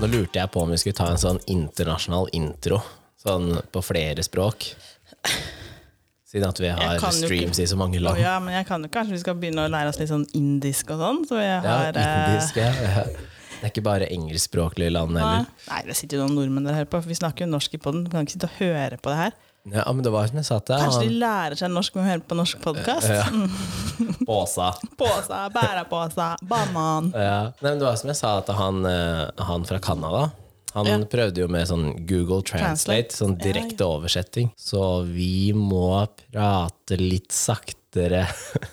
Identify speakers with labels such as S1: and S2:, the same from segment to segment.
S1: Nå lurte jeg på om vi skulle ta en sånn internasjonal intro, sånn på flere språk. Siden at vi har
S2: Jeg kan jo
S1: streams i så mange
S2: Å
S1: land.
S2: ja, men jeg kan jo kanskje vi skal begynne å lære oss litt sånn indisk og sånn. Så jeg
S1: Ja,
S2: har eh,
S1: indisk, ja. ja. Det er ikke bare engelskspråklige land
S2: nei.
S1: heller.
S2: Nei, det sitter jo noen nordmenn der og hører på, for vi snakker jo norsk i poden. Vi kan ikke sitte og høre på det her.
S1: Ja, men det var som jeg sa til deg,
S2: Kanskje de lærer seg norsk med å høre på norsk
S1: Eh,
S2: podkast?
S1: han Åsa.
S2: Påsa, bærepåsa, banan.
S1: Ja. Nei, men det var som jeg sa til han, eh, han fra Canada. Han
S2: Ja.
S1: prøvde jo med sånn Google Translate,
S2: Translate.
S1: sånn direkte oversetting. Så vi må prate litt saktere.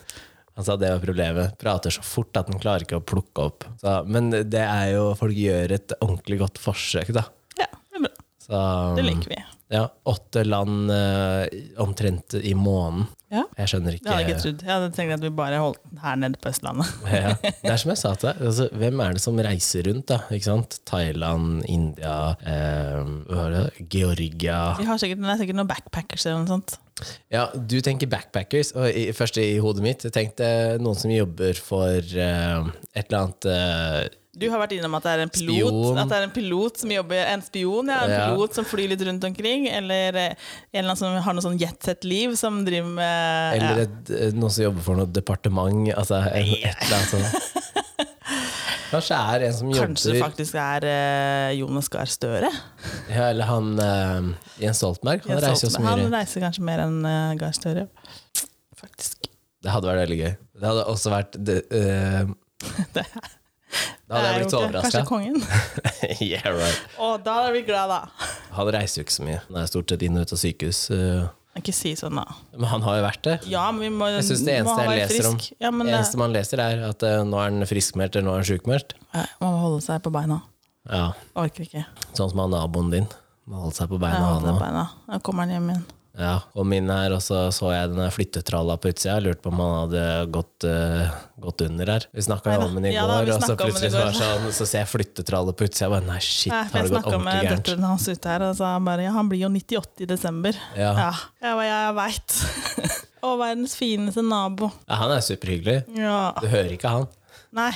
S1: Han sa det var problemet. Prater så fort at den klarer ikke å plukke opp. Så, men det er jo Folk gjør et ordentlig godt forsøk, da.
S2: Ja, det er bra.
S1: Så
S2: Det
S1: Mm.
S2: liker vi.
S1: ja, åtte land eh, omtrent i måneden.
S2: Ja.
S1: Jeg skjønner ikke
S2: Det hadde jeg ikke trodd. Jeg hadde tenkt at vi bare holdt den her nede på Østlandet.
S1: ja. Det er som jeg sa til deg, altså, hvem er det som reiser rundt? da, ikke sant? Thailand, India, eh, hva var det? Georgia
S2: Vi har sikkert, det er sikkert noen backpackers eller noe sånt.
S1: Ja, Du tenker backpackers, og i, først i hodet mitt jeg tenkte noen som jobber for eh, et eller annet eh,
S2: Du har vært innom at det er en pilot
S1: Spion.
S2: At det er en pilot som jobber En spion, ja. En
S1: Ja.
S2: pilot som flyr litt rundt omkring. Eller eh, en eller annen som har noe sånn jetset-liv, som driver med
S1: Eller
S2: ja.
S1: et, eh, noen som jobber for noe departement. Altså et, et eller annet sånt. Kanskje det er en som
S2: Kanskje det
S1: jobber
S2: faktisk er eh, Jonas Gahr Støre?
S1: ja, Eller han eh, Jens Stoltenberg. Han
S2: Jens
S1: reiser jo så
S2: Stoltenberg.
S1: mye rundt.
S2: Han reiser kanskje mer enn eh, Gahr Støre. Faktisk.
S1: Det hadde vært veldig gøy. Det hadde også vært det, eh, Da hadde
S2: Det er
S1: jeg blitt
S2: jo
S1: så
S2: ikke- Kanskje
S1: overraska.
S2: kongen.
S1: yeah, right.
S2: Og da hadde jeg blitt glad, da.
S1: Han reiser jo ikke så mye. Han er stort sett inn og ut av sykehus. eh,
S2: Ikke si sånn, da.
S1: Men han har jo vært det.
S2: Ja, men vi må,
S1: Jeg synes Det
S2: må
S1: eneste
S2: han
S1: jeg
S2: være
S1: leser om
S2: frisk. Ja, men,
S1: Det
S2: eh,
S1: eneste man leser, er at eh, nå er han friskmeldt, eller nå er han sjukmeldt.
S2: eh, må holde seg på beina.
S1: Ja.
S2: Orker ikke.
S1: Sånn som han naboen din. Må holde seg på beina,
S2: Jeg
S1: han
S2: holder seg på
S1: òg.
S2: beina. Da kommer han hjem igjen.
S1: Ja. Og min her, og så så jeg den der flyttetralla på utsida. Jeg Lurte på om han hadde gått, eh, gått under her. Vi snakka
S2: Nei da.
S1: om den i
S2: Ja da, vi
S1: går, og så
S2: snakket om den i
S1: plutselig så,
S2: går.
S1: var det sånn, så ser jeg flyttetralle på utsida. Jeg bare, Nei, shit,
S2: Nei,
S1: har
S2: for jeg
S1: det gått
S2: snakka
S1: ordentlig
S2: med
S1: gærent?
S2: døtrene hans ute her, og sa han bare ja, han blir jo 98 i desember.
S1: Ja.
S2: Ja, jeg, bare, ja, jeg veit. og verdens fineste nabo.
S1: Ja, han er superhyggelig.
S2: Ja.
S1: Du hører ikke han.
S2: Nei.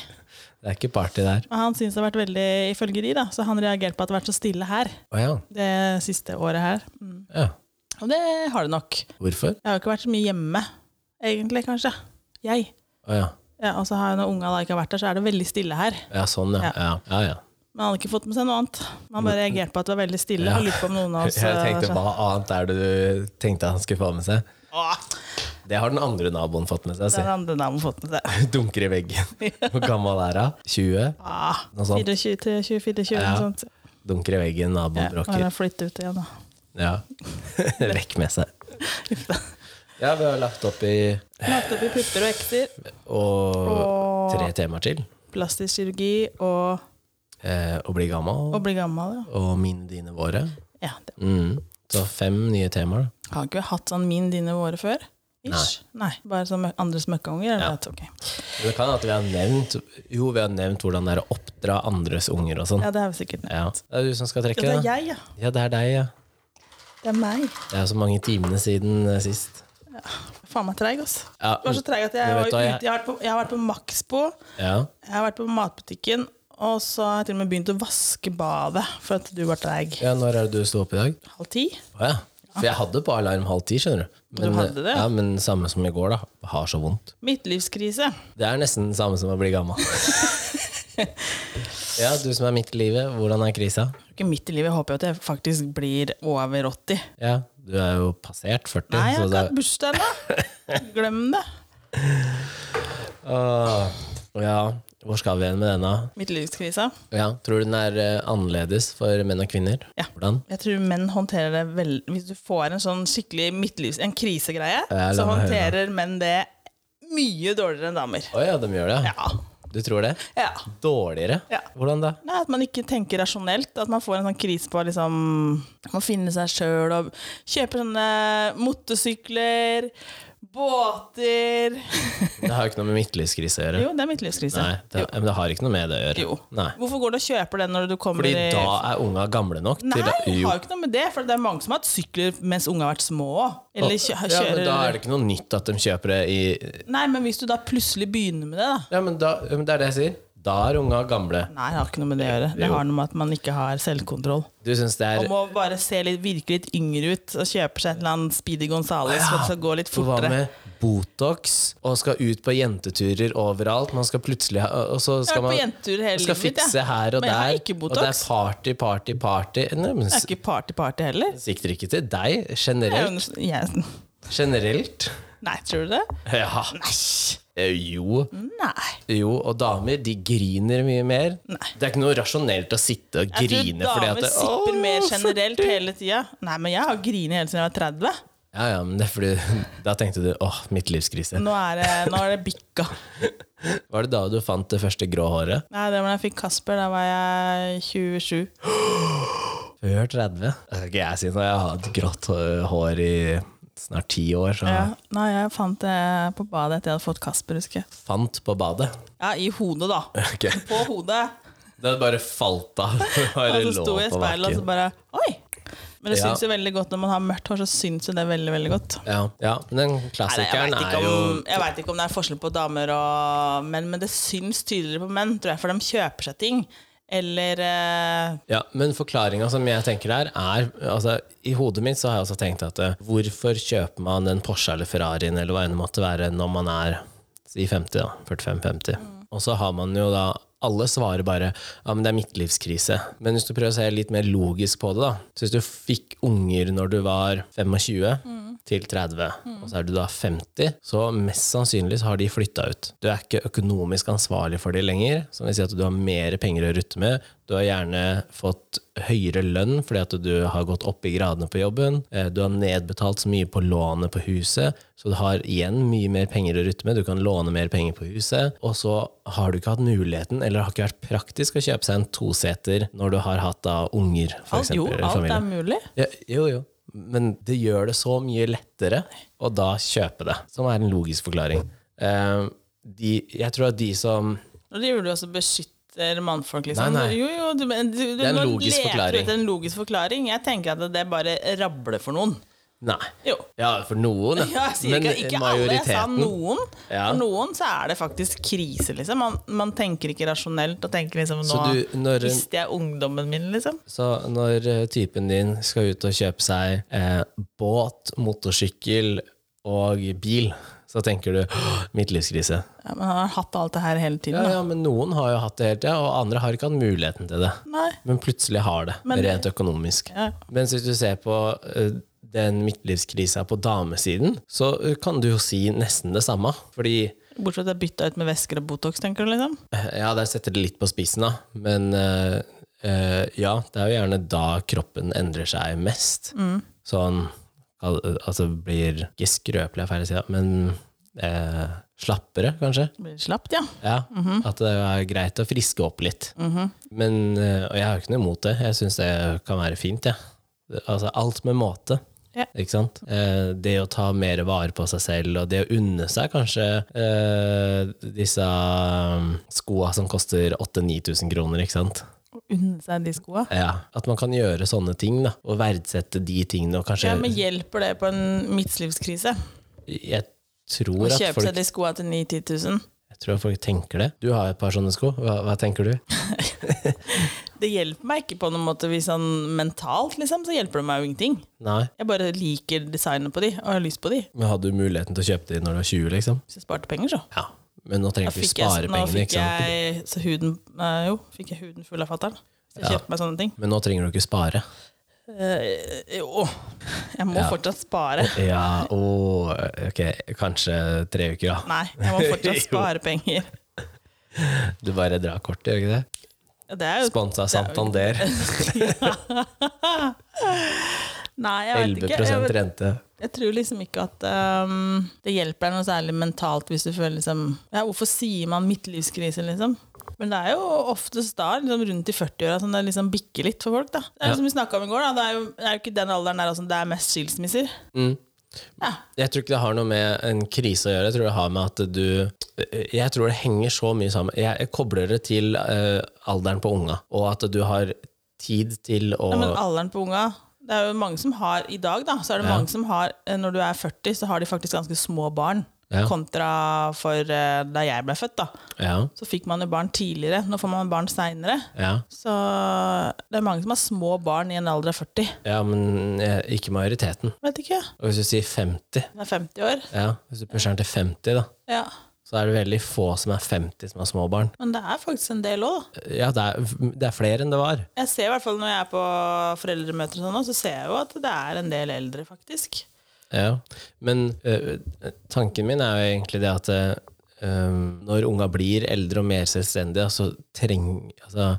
S1: Det er ikke party der.
S2: men Han syns det har vært veldig ifølge de, da, så han reagerte på at det har vært så stille her
S1: Å ja.
S2: det siste året her. Mm.
S1: ja.
S2: Og det har det nok.
S1: Hvorfor?
S2: Jeg har jo ikke vært så mye hjemme, egentlig, kanskje. Jeg.
S1: Å ja.
S2: Ja, og så har når unga da ikke har vært der, så er det veldig stille her.
S1: ja, sånn ja.
S2: Ja.
S1: Ja, ja. ja.
S2: Men han hadde ikke fått med seg noe annet. Man bare reagerte på at det var veldig stille.
S1: Mm. Ja.
S2: Og lurte på om noen av oss
S1: Jeg
S2: eh,
S1: tenkte,
S2: skjønte-
S1: Hva annet er det du tenkte han skulle få med seg?
S2: Åh,
S1: Det har den andre naboen fått med seg.
S2: Det har andre navn fått med seg.
S1: Se. Dunker i veggen. Hvor gammel er hun? 20?
S2: Ah,
S1: Noe sånt.
S2: 24 til 24, 20,
S1: Ja.
S2: noe sånt.
S1: Dunker i veggen, naboen
S2: Ja,
S1: bråker.
S2: jeg flytter ut igjen, da.
S1: Ja. Vekk med seg. Ja, vi har lagt opp i
S2: Lagt opp i pupper og ekter.
S1: og tre temaer til.
S2: Plastisk kirurgi og
S1: Eh, å bli gammel
S2: å bli gammel. Ja.
S1: og mine, dine, våre.
S2: Ja, det.
S1: Mm. Så fem nye temaer. da.
S2: Har ikke hatt sånn min, dine, våre før? Ish. Nei. Bare som andres møkkaunger? eller at- ok.
S1: Men Det kan at vi har nevnt Jo, vi har nevnt hvordan det er å oppdra andres unger og sånn.
S2: Ja, det har vi sikkert nevnt.
S1: Ja. Det er du som skal
S2: Ja,
S1: trekke,
S2: det er
S1: da.
S2: jeg, ja.
S1: Ja, det er deg, ja.
S2: Det er meg.
S1: Det er jo så mange timene siden eh, sist.
S2: Faen meg treig, ass.
S1: Ja.
S2: Jeg var så treig at jeg,
S1: Men vet du
S2: var ute,
S1: hva,
S2: jeg...
S1: jeg-
S2: har vært på, jeg har vært på Maxbo,
S1: Ja.
S2: jeg har vært på matbutikken, og så har jeg til og med begynt å vaske badet for at du var treig.
S1: ja, når er det du sto opp i dag?
S2: Halv ti?
S1: Å ja. For jeg hadde på alarm halv ti, skjønner du.
S2: Du hadde det?
S1: Ja, men samme som i går, da. Har så vondt.
S2: Midtlivskrise.
S1: Det er nesten det samme som å bli gammel. ja, du som er midt i livet, hvordan er krisa?
S2: Ikke midt i livet, jeg håper jo at jeg faktisk blir over 80.
S1: Ja, du er jo passert 40.
S2: Nei, jeg
S1: så
S2: har ikke hatt bursdag ennå. Glem det.
S1: det- ja, hvor skal vi igjen med denne?
S2: Midtlivskrisa.
S1: Ja, tror du den er eh, annerledes for menn og kvinner?
S2: Ja.
S1: Hvordan?
S2: Jeg tror menn håndterer det vel Hvis du får en sånn skikkelig midtlivs... En krisegreie,
S1: la
S2: så
S1: meg høre.
S2: håndterer menn det mye dårligere enn damer.
S1: Å ja, de gjør det?
S2: Ja.
S1: Du tror det?
S2: ja.
S1: Dårligere?
S2: Ja.
S1: Hvordan da?
S2: Nei, At man ikke tenker rasjonelt. At man får en sånn krise på liksom, å finne seg sjøl og kjøpe sånne motorsykler, båter
S1: Det har jo ikke noe med midtlivskrise å gjøre.
S2: Jo, det er midtlivskrise.
S1: Nei, det, men det har ikke noe med det å gjøre.
S2: Jo.
S1: Nei.
S2: Hvorfor går du og kjøper den når du kommer
S1: Fordi
S2: i
S1: da er unga gamle nok
S2: Nei,
S1: til å
S2: det
S1: Jo.
S2: har jo ikke noe med det. For det er mange som har hatt sykler mens unge har vært små. Eller kjø
S1: Ja,
S2: kjører
S1: men da er det ikke noe nytt at de kjøper det i
S2: Nei, men hvis du da plutselig begynner med det, da.
S1: Ja, men, da, men det er det jeg sier. Da er unga gamle.
S2: Nei, det har ikke noe med det å gjøre. Det
S1: Jo.
S2: har noe med at man ikke har selvkontroll.
S1: Du syns det
S2: Og
S1: er
S2: må bare se litt, virke litt yngre ut og kjøpe seg et eller annet Speedy Gonzales for at det skal gå litt
S1: For hva
S2: fortere.
S1: med Botox og skal ut på jenteturer overalt? Man skal plutselig ha Og så
S2: Jeg har
S1: skal
S2: vært på
S1: man
S2: jentetur hele
S1: skal
S2: livet mitt,
S1: fikse her og
S2: Men jeg har
S1: der.
S2: ikke
S1: Og det er
S2: Botox.
S1: party, party, party. Nei, men
S2: Det er ikke party-party heller.
S1: sikter ikke til deg.
S2: Jeg
S1: Generelt.
S2: under- jeg-
S1: Generelt.
S2: Nei, tror du det?
S1: Ja.
S2: Nei.
S1: Eh, Jo.
S2: Nei.
S1: Jo, og damer de griner mye mer.
S2: Nei.
S1: Det er ikke noe rasjonelt å sitte og
S2: Jeg tror
S1: grine fordi at
S2: damer
S1: det,
S2: sipper
S1: Åh,
S2: mer generelt
S1: 40.
S2: hele tida. Nei, men jeg har grinet helt siden jeg var 30.
S1: Ja, ja, men det er fordi Da tenkte du åh, midtlivskrise.
S2: Nå er det, nå er det bikka.
S1: Var det da du fant det første grå håret?
S2: Nei, det var da jeg fikk Kasper. Da var jeg 27.
S1: Før 30? Ok, jeg sier når jeg har hatt grått hå- hår i snart ti år, så
S2: Ja. Nei, jeg fant det på badet etter jeg hadde fått Kasper, husker jeg.
S1: fant på badet.
S2: Ja, i hodet, da.
S1: Ok,
S2: På hodet.
S1: Det hadde bare falt av. Bare
S2: Og så
S1: lå
S2: sto jeg i
S1: på
S2: speilet, og
S1: bakken.
S2: så bare Oi! Men det
S1: Ja.
S2: syns jo veldig godt når man har mørkt hår, så syns jo det veldig, veldig godt.
S1: Ja, ja, men den
S2: Nei, jeg
S1: klassikeren
S2: vet ikke
S1: er jo
S2: om- Jeg veit ikke om det er forskjell på damer og menn, men det syns tydeligere på menn, tror jeg, for de kjøper seg ting. Eller eh,
S1: Ja, men forklaringa som jeg tenker der, er altså, I hodet mitt så har jeg også tenkt at eh, hvorfor kjøper man den Porsche eller Ferrarien eller hva enn det måtte være, når man er i 50, da. 45-50. Og så har man jo da alle svarer bare ja, men det er midtlivskrise. Men hvis du prøver å se litt mer logisk på det, da Så hvis du fikk unger når du var 25 til 30, og så er du da 50, så mest sannsynlig så har de flytta ut. Du er ikke økonomisk ansvarlig for de lenger, som vil si at du har mer penger å rutte med. Du har gjerne fått høyere lønn fordi at du har gått opp i gradene på jobben. Eh, Du har nedbetalt så mye på lånet på huset, så du har igjen mye mer penger å rutte med. Du kan låne mer penger på huset. Og så har du ikke hatt muligheten, eller har ikke vært praktisk å kjøpe seg en toseter når du har hatt da unger, for
S2: alt, jo,
S1: eksempel. eller
S2: alt
S1: familie.
S2: er mulig.
S1: Ja, jo, jo. Men det gjør det så mye lettere å da kjøpe det, som er en logisk forklaring. Eh, de, jeg tror at de som
S2: Og det gjorde du også beskytter mannfolk, liksom.
S1: Nei, nei.
S2: Jo, jo, du, men du, du,
S1: er en
S2: nå
S1: logisk
S2: leter du
S1: forklaring.
S2: etter en logisk forklaring. Jeg tenker at det bare rabler for noen.
S1: Nei.
S2: Jo.
S1: Ja, for noen,
S2: Ja, jeg sier ikke, ikke alle, jeg sa noen.
S1: Ja.
S2: For noen så er det faktisk krise, liksom. Man, man tenker ikke rasjonelt og tenker liksom nå
S1: Så du, når,
S2: mister jeg ungdommen min, liksom.
S1: så når eh, typen din skal ut og kjøpe seg eh, båt, motorsykkel og bil, så tenker du «Åh, midtlivskrise.
S2: Ja, men han har hatt alt det her hele tiden.
S1: Ja,
S2: da.
S1: ja, men noen har jo hatt det hele tida, og andre har ikke hatt muligheten til det.
S2: Nei.
S1: Men plutselig har det,
S2: Men-
S1: rent økonomisk.
S2: Ja.
S1: Mens hvis du ser på eh, den midtlivskrisa på damesiden, så eh, kan du jo si nesten det samme. Fordi
S2: Bortsett fra at jeg bytta ut med væsker og Botox, tenker du, liksom.
S1: Ja, der setter det litt på spissen, da. Men eh, eh, ja, det er jo gjerne da kroppen endrer seg mest. Sånn al- Altså blir ikke skrøpelig, er feil å si, da, men eh, slappere, kanskje.
S2: Blir slapt, ja.
S1: Ja, At det er greit å friske opp litt. Men, eh, og jeg har jo ikke noe imot det. Jeg syns det kan være fint. Ja. Det- Altså, alt med måte.
S2: Ja.
S1: Ikke sant? Eh, det å ta mer vare på seg selv, og det å unne seg kanskje eh, disse um, skoa som koster 8000-9000 kroner, ikke sant.
S2: Å unne seg de skoa.
S1: Ja. At man kan gjøre sånne ting, da, og verdsette de tingene, og kanskje
S2: Ja, men hjelper det på en midtlivskrise?
S1: Jeg
S2: Å
S1: tror at
S2: kjøpe
S1: folk
S2: seg de skoa til 9000-10 000?
S1: Jeg tror at folk tenker det. Du har et par sånne sko. Hva, hva tenker du?
S2: Det hjelper meg ikke på noen måte hvis han mentalt, liksom, så hjelper det meg jo ingenting.
S1: Nei.
S2: Jeg bare liker designet på de, og har lyst på de.
S1: Men hadde du muligheten til å kjøpe de når du var 20, liksom?
S2: Hvis jeg sparte penger, så.
S1: Ja, men nå trenger
S2: Da
S1: du ikke
S2: fikk jeg,
S1: spare
S2: nå
S1: pengene,
S2: fikk
S1: ikke sant?
S2: jeg, så huden, nei, jo, fikk jeg huden full av fatter'n. Så jeg
S1: Ja.
S2: kjøpte meg sånne ting.
S1: Men nå trenger du ikke spare.
S2: Eh, jo, jeg må
S1: Ja.
S2: fortsatt spare.
S1: Ja, og ok, kanskje tre uker, da.
S2: Nei, jeg må fortsatt
S1: Jo.
S2: spare penger.
S1: Du bare drar kortet, gjør ikke det?
S2: Det er jo
S1: Sponsa Santander.
S2: Nei, jeg vet
S1: 11
S2: ikke. Jeg, vet,
S1: rente.
S2: jeg tror liksom ikke at ehm, det hjelper deg noe særlig mentalt hvis du føler liksom ja, Hvorfor sier man midtlivskrise, liksom? Men det er jo oftest da, liksom rundt i 40-åra, som det liksom bikker litt for folk. da. Det er jo
S1: Ja.
S2: som vi snakka om i går, da. Det er jo, det er jo ikke den alderen der altså, det er mest skilsmisser.
S1: Mm.
S2: Ja.
S1: Jeg tror ikke det har noe med en krise å gjøre. Jeg tror det har med at du Jeg tror det henger så mye sammen. Jeg, jeg kobler det til eh, alderen på unga, og at du har tid til å
S2: Ja, men alderen på unga Det er jo mange som har i dag, da, så er det
S1: Ja.
S2: mange som har eh, Når du er 40, så har de faktisk ganske små barn.
S1: Ja.
S2: kontra for eh, da jeg ble født. da.
S1: Ja.
S2: Så fikk man jo barn tidligere, nå får man barn seinere.
S1: Ja.
S2: Så det er mange som har små barn i en alder av 40.
S1: ja, men eh, ikke majoriteten.
S2: Vet ikke, jeg.
S1: Og hvis du sier 50,
S2: Hun er 50 år.
S1: ja, hvis du pusher den til 50, da,
S2: Ja.
S1: så er det veldig få som er 50 som har små barn.
S2: Men det er faktisk en del òg, da.
S1: Ja, det er, det er flere enn det var.
S2: Jeg ser i hvert fall når jeg er på foreldremøter, og sånn, også, så ser jeg jo at det er en del eldre, faktisk.
S1: Ja, men ø, ø, tanken min er jo egentlig det at ø, når unga blir eldre og mer selvstendige, så treng, altså,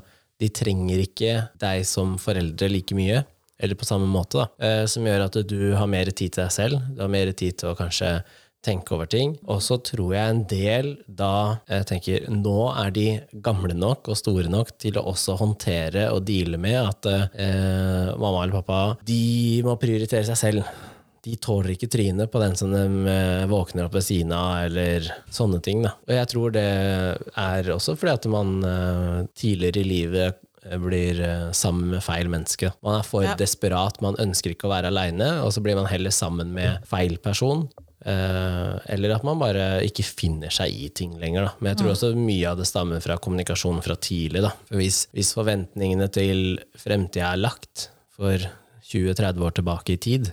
S1: de trenger ikke deg som foreldre like mye, eller på samme måte, da, Eh, som gjør at du har mer tid til deg selv, du har mer tid til å kanskje tenke over ting. Og så tror jeg en del da eh, tenker nå er de gamle nok og store nok til å også håndtere og deale med at eh, mamma eller pappa de må prioritere seg selv. De tåler ikke trynet på den som de eh, våkner opp ved siden av, eller sånne ting. Da. Og jeg tror det er også fordi at man eh, tidligere i livet eh, blir eh, sammen med feil menneske. Man er for
S2: Ja.
S1: desperat, man ønsker ikke å være aleine, og så blir man heller sammen med feil person. Eh, eller at man bare ikke finner seg i ting lenger. Da. Men jeg tror også mye av det stammer fra kommunikasjon fra tidlig. Da. For hvis, hvis forventningene til fremtida er lagt for 20-30 år tilbake i tid,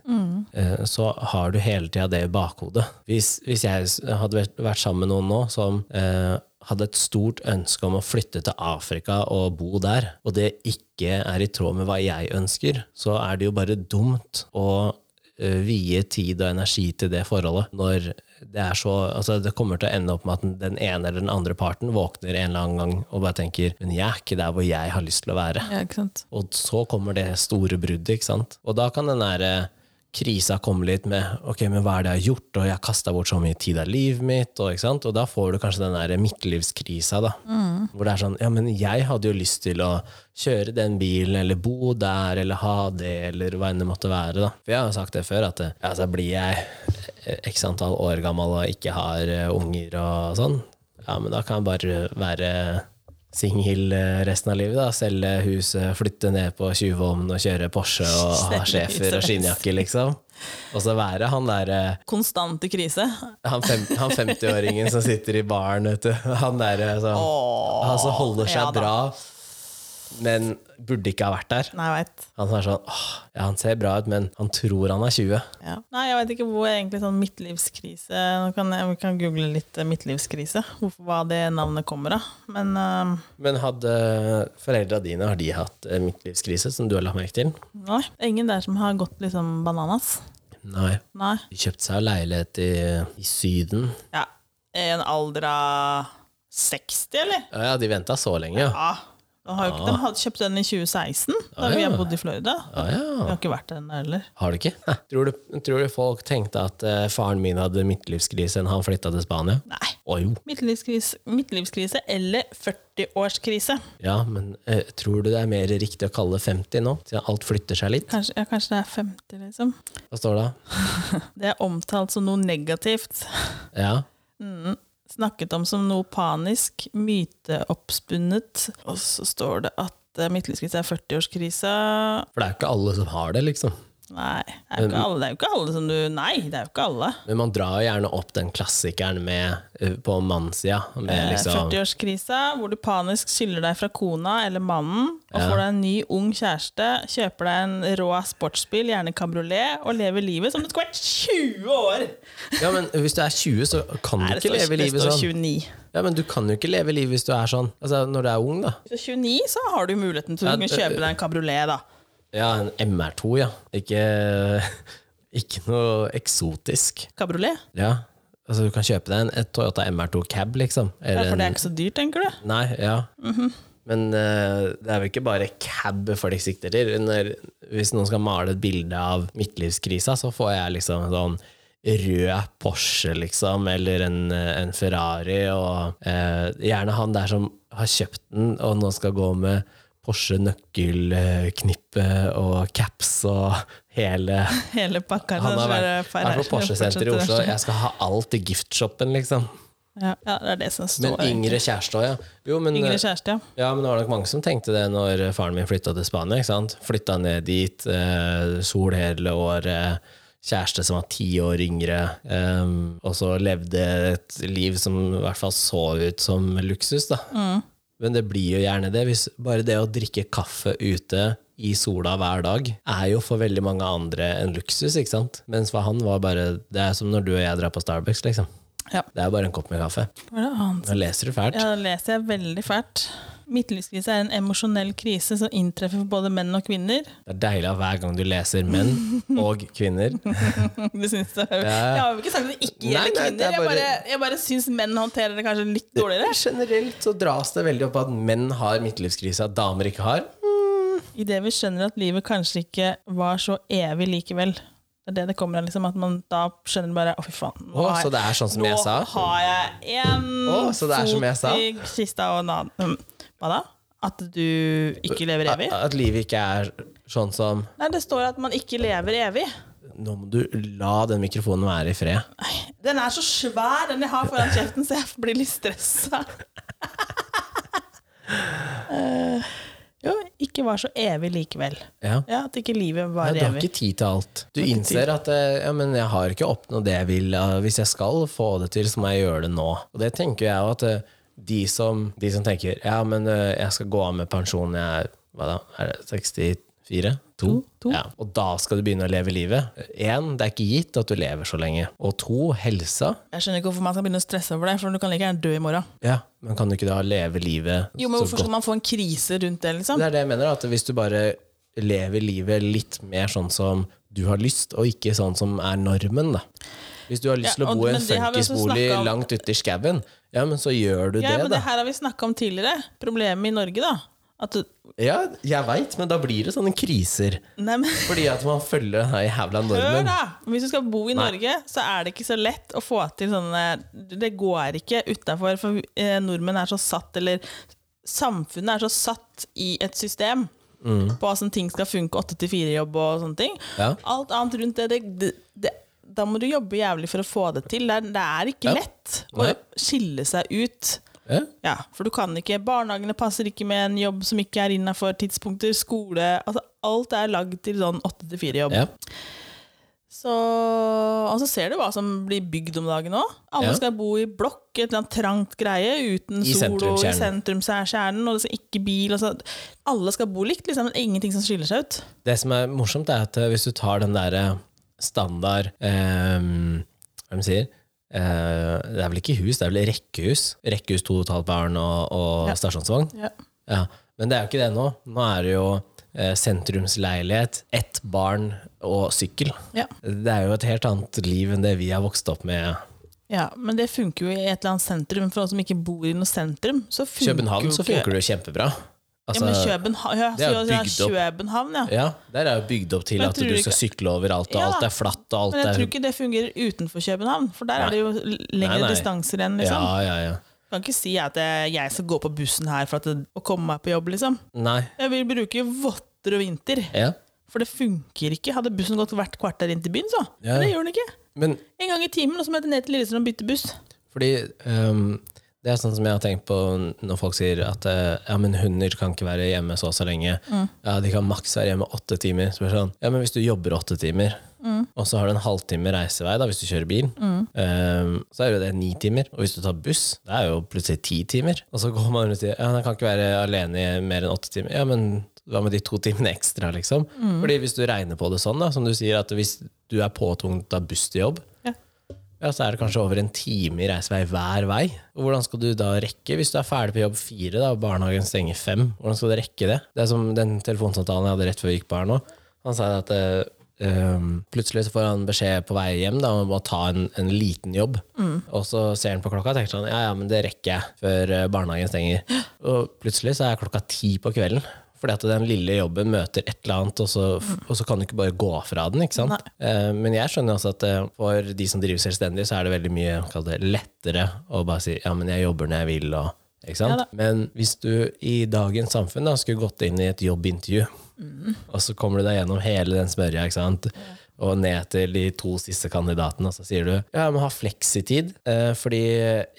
S1: eh, så har du hele tida det i bakhodet. Hvis, hvis jeg s- hadde vært- vært sammen med noen nå som eh, hadde et stort ønske om å flytte til Afrika og bo der, og det ikke er i tråd med hva jeg ønsker, så er det jo bare dumt å eh, vie tid og energi til det forholdet når det er så altså Det kommer til å ende opp med at den- den ene eller den andre parten våkner en eller annen gang og bare tenker Men jeg er ikke der hvor jeg har lyst til å være.
S2: Ja, ikke sant?
S1: Og så kommer det store bruddet, ikke sant? Og da kan den der eh, krisa komme litt med Ok, men hva er det jeg har gjort, og jeg har kasta bort så mye tid av livet mitt, og, ikke sant? og da får du kanskje den der midtlivskrisa, da. Hvor det er sånn Ja, men jeg hadde jo lyst til å kjøre den bilen, eller bo der, eller ha det, eller hva enn det måtte være, da. For jeg har jo sagt det før, at eh, altså, blir jeg eh, x antall år gammel og ikke har eh, unger og sånn, ja, men da kan jeg bare være singel eh, resten av livet. da, Selge huset, flytte ned på Tjuvholmen og kjøre Porsche og ha
S2: Selge
S1: schæfer og
S2: huset.
S1: skinnjakke, liksom. Og så være han der eh,
S2: Konstante krise.
S1: han, fem, han 50-åringen som sitter i baren, vet du. Han der eh, som
S2: Åh,
S1: han som holder seg
S2: ja da.
S1: bra, men burde ikke ha vært der.
S2: Nei, jeg vet.
S1: Han som er sånn åh, ja, han ser bra ut, men han tror han er 20.
S2: Ja. Nei, jeg vet ikke hvor egentlig sånn midtlivskrise Nå kan jeg, vi kan google litt eh, midtlivskrise, hvorfor, hva det navnet kommer av. Men eh,
S1: Men hadde foreldra dine har de hatt eh, midtlivskrise, som du har lagt merke til?
S2: nei, det er ingen der som har gått liksom bananas.
S1: Nei.
S2: Nei.
S1: De kjøpte seg leilighet i, i Syden.
S2: Ja. I en alder av 60, eller?
S1: Ja, ja, de venta så lenge, ja.
S2: Ja. De har jo ikke, de hadde kjøpt den i 2016, da
S1: Ja,
S2: vi
S1: ja.
S2: bodde i Florida.
S1: Ja,
S2: Vi
S1: Ah, ja.
S2: har ikke vært der ennå heller.
S1: Har du ikke? Hæ? Tror du, tror du folk tenkte at eh, faren min hadde midtlivskrise da han flytta til Spania?
S2: Nei.
S1: Å jo.
S2: Midtlivskrise, midtlivskrise eller 40-årskrise.
S1: Ja, men eh, tror du det er mer riktig å kalle det 50 nå? Siden alt flytter seg litt?
S2: Kanskje, ja, kanskje det er 50, liksom.
S1: Hva står det da?
S2: Det er omtalt som noe negativt.
S1: Ja.
S2: snakket om som noe panisk, myteoppspunnet. Og så står det at eh, midtlivskrise er 40-årskrisa.
S1: For det er jo ikke alle som har det, liksom.
S2: Nei, det er jo ikke alle, det er jo ikke alle som du Nei, det er jo ikke alle.
S1: Men man drar jo gjerne opp den klassikeren med, eh, på mannssida. Med
S2: Eh,
S1: liksom
S2: 40-årskrisa, hvor du panisk skiller deg fra kona eller mannen, og
S1: Ja.
S2: får deg en ny, ung kjæreste, kjøper deg en rå sportsbil, gjerne kabriolet, og lever livet som du skulle vært 20 år!
S1: Ja, men hvis du er 20, så kan du
S2: Nei, det
S1: ikke
S2: står,
S1: leve
S2: det
S1: livet
S2: står
S1: sånn.
S2: 29.
S1: Ja, men du kan jo ikke leve livet hvis du er sånn. Altså, når du er ung, da.
S2: Så 29, så har du muligheten til å
S1: Ja,
S2: kunne
S1: det-
S2: kjøpe deg en kabriolet, da.
S1: Ja, en MR2, ja. Ikke, ikke noe eksotisk.
S2: Kabriolet?
S1: Ja. Altså, du kan kjøpe deg en et Toyota MR2 Cab, liksom.
S2: Ja,
S1: Eller
S2: for det er Mhm.
S1: en,
S2: ikke så dyrt, tenker du?
S1: nei, ja. Men eh, det er vel ikke bare cab folk sikter til. Når, hvis noen skal male et bilde av midtlivskrisa, så får jeg liksom en sånn rød Porsche, liksom, eller en, eh, en Ferrari, og eh, gjerne han der som har kjøpt den, og nå skal gå med Porsche nøkkelknippe og caps og hele
S2: Hele pakka.
S1: han har
S2: sånn svære
S1: vært,
S2: Ferrari-
S1: vært på Porsche-senteret i
S2: Porsche-
S1: Oslo. Jeg skal ha alt i giftshoppen, liksom.
S2: Ja, ja, det er det som står.
S1: Men yngre kjæreste òg, ja. Jo, men,
S2: Yngre kjæreste, ja.
S1: ja. Men det var nok mange som tenkte det når faren min flytta til Spania. ikke sant? Flytta ned dit, eh, sol hele året, kjæreste som var ti år yngre, ehm, og så levde et liv som i hvert fall så ut som luksus, da. Men det blir jo gjerne det. Hvis bare det å drikke kaffe ute i sola hver dag er jo for veldig mange andre en luksus, ikke sant? Mens for han var bare Det er som når du og jeg drar på Starbucks, liksom.
S2: Ja.
S1: Det er bare en kopp med kaffe.
S2: Hva er det annet?
S1: Nå leser du fælt.
S2: Ja, det leser jeg veldig fælt. Midtlivskrise er en emosjonell krise som inntreffer for både menn og kvinner.
S1: Det er deilig at hver gang du leser menn og kvinner
S2: Det syns jeg.
S1: Ja.
S2: jeg har jo ikke sagt at det
S1: Nei,
S2: ikke gjelder
S1: nei, det
S2: kvinner.
S1: er
S2: Jeg bare,
S1: bare-
S2: jeg bare syns menn håndterer det kanskje litt dårligere.
S1: Generelt så dras det veldig opp at menn har midtlivskrise, at damer ikke har.
S2: Idet vi skjønner at livet kanskje ikke var så evig likevel. Det er det det kommer av, liksom, at man da skjønner bare Å, fy faen. nå
S1: Å,
S2: har
S1: så
S2: jeg-
S1: det er sånn som
S2: nå
S1: jeg sa?
S2: har jeg en
S1: Å, så det er som jeg sa?
S2: fot i kista og en annen Mm, Hva da? At du ikke lever
S1: At,
S2: evig?
S1: at livet ikke er sånn som
S2: Nei, det står at man ikke lever evig.
S1: Nå må du la den mikrofonen være i fred.
S2: Den er så svær, den jeg har foran kjeften, så jeg blir litt stressa. Eh, jo, ikke var så evig likevel.
S1: Ja.
S2: Ja, At ikke livet var
S1: Ja, du har
S2: evig.
S1: ikke tid til alt. Du innser at eh, ja, men 'jeg har ikke oppnådd det jeg vil'. eh, Hvis jeg skal få det til, så må jeg gjøre det nå. Og det tenker jeg jo at eh, de som, de som tenker 'ja, men eh, jeg skal gå av med pensjon når jeg er hva da, er det 64? To?
S2: To.
S1: Ja. Og da skal du begynne å leve livet. Én, det er ikke gitt at du lever så lenge. Og to, helsa.
S2: Jeg skjønner ikke hvorfor man skal begynne å stresse over det, for du kan like gjerne dø i morgen.
S1: Ja, men kan du ikke da leve livet
S2: Jo, men
S1: så
S2: Hvorfor skal man få en krise rundt det? liksom?
S1: Det er det jeg mener, at hvis du bare lever livet litt mer sånn som du har lyst, og ikke sånn som er normen, da. Hvis du har lyst til
S2: Ja,
S1: å
S2: og-
S1: bo i en
S2: men det har vi også
S1: funkisbolig
S2: snakket om.
S1: langt ute i skauen, ja, men så gjør du
S2: Ja,
S1: det,
S2: men
S1: da.
S2: det her har vi snakka om tidligere. Problemet i Norge, da. At du,
S1: Ja, jeg veit, men da blir det sånne kriser.
S2: nei, men
S1: Fordi at man følger den her jævla
S2: Hør
S1: normen.
S2: da! Hvis du skal bo i Norge, så er det ikke så lett å få til sånne Det går ikke utafor, for eh, nordmenn er så satt, eller samfunnet er så satt i et system. På hvordan ting skal funke, 8-4-jobb og sånne ting.
S1: Mm. Ja.
S2: Alt annet rundt det, det, det, det Da må du jobbe jævlig for å få det til. Det er, det er ikke
S1: Ja.
S2: lett å
S1: Nei.
S2: skille seg ut.
S1: Ja.
S2: Ja, for du kan ikke Barnehagene passer ikke med en jobb som ikke er innafor tidspunkter. Skole altså Alt er lagd til sånn 8-4-jobb.
S1: Ja.
S2: Så, og så ser du hva som blir bygd om dagen òg. Alle
S1: Ja.
S2: skal bo i blokk, et eller annet trangt greie, uten
S1: I
S2: sol og i
S1: sentrumskjernen.
S2: sentrumskjernen, og det skal ikke bil og så. Alle skal bo likt, liksom, men ingenting som skiller seg ut.
S1: Det som er morsomt, er at eh, hvis du tar den derre standard eh, Hva er det de sier? Eh, det er vel ikke hus, det er vel rekkehus. Rekkehus, to og et halvt barn og, og stasjonsvogn. Ja, men det er jo ikke det nå. Nå er det jo eh, sentrumsleilighet, ett barn og sykkel.
S2: Ja.
S1: Det er jo et helt annet liv enn det vi har vokst opp med.
S2: Ja, Men det funker jo i et eller annet sentrum, for oss som ikke bor i noe sentrum. Så
S1: I
S2: funker
S1: København
S2: jo
S1: så
S2: ikke-
S1: funker det jo kjempebra.
S2: ja, men København, ja,
S1: det er jo
S2: så- ja,
S1: bygd opp.
S2: København, ja.
S1: ja, der er jo bygd opp til
S2: Men
S1: at
S2: tror
S1: du
S2: du
S1: skal
S2: ikke-
S1: sykle overalt, og
S2: Ja,
S1: alt er flatt. og alt
S2: Men jeg
S1: er...
S2: tror ikke det fungerer utenfor København, for der er det jo
S1: Nei,
S2: lengre
S1: nei.
S2: distanser igjen. Liksom.
S1: Ja, ja, ja.
S2: Du kan ikke si at eh, jeg skal gå på bussen her for at det, å komme meg på jobb, liksom.
S1: Nei.
S2: Jeg vil bruke votter og vinter,
S1: Ja.
S2: for det funker ikke. Hadde bussen gått hvert kvarter inn til byen, så.
S1: Ja.
S2: Men det gjør den ikke.
S1: Men
S2: En gang i timen, og så må jeg ned til Lillestrøm og bytte buss.
S1: Fordi ehm, det er sånn som jeg har tenkt på når folk sier at eh, ja, men hunder kan ikke være hjemme så og så lenge. Ja, De kan maks være hjemme åtte timer. Så blir det sånn, ja, men Hvis du jobber åtte timer, og så har du en halvtime reisevei da, hvis du kjører bil, ehm, så er jo det ni timer. Og hvis du tar buss, det er jo plutselig ti timer. Og så går man rundt og sier ja, men jeg kan ikke være alene i mer enn åtte timer. Ja, men hva med de to timene ekstra, liksom? Fordi hvis du regner på det sånn, da, som du sier, at hvis du er påtvunget av buss til jobb, ja, så er det kanskje over en time i reisevei hver vei. Og hvordan skal du da rekke, hvis du er ferdig på jobb fire da, og barnehagen stenger fem? Hvordan skal du rekke det? Det er som den telefonsamtalen jeg hadde rett før jeg gikk på her nå. Han sa at eh, ehm, plutselig så får han beskjed på vei hjem da, om å ta en, en liten jobb. Og så ser han på klokka og tenker sånn, ja, ja, men det rekker jeg før eh, barnehagen stenger. Og plutselig så er klokka ti på kvelden. Fordi at den lille jobben møter et eller annet, og så, og så kan du ikke bare gå fra den. ikke sant? Eh, men jeg skjønner også at eh, for de som driver selvstendig, så er det veldig mye kall det, lettere å bare si ja, men jeg jobber når jeg vil. og ikke sant?
S2: Ja da.
S1: men hvis du i dagens samfunn da, skulle gått inn i et jobbintervju,
S2: Mhm.
S1: og så kommer du deg gjennom hele den smørja, ikke sant? og ned til de to siste kandidatene, og så sier du ja, jeg må ha fleksitid, eh, fordi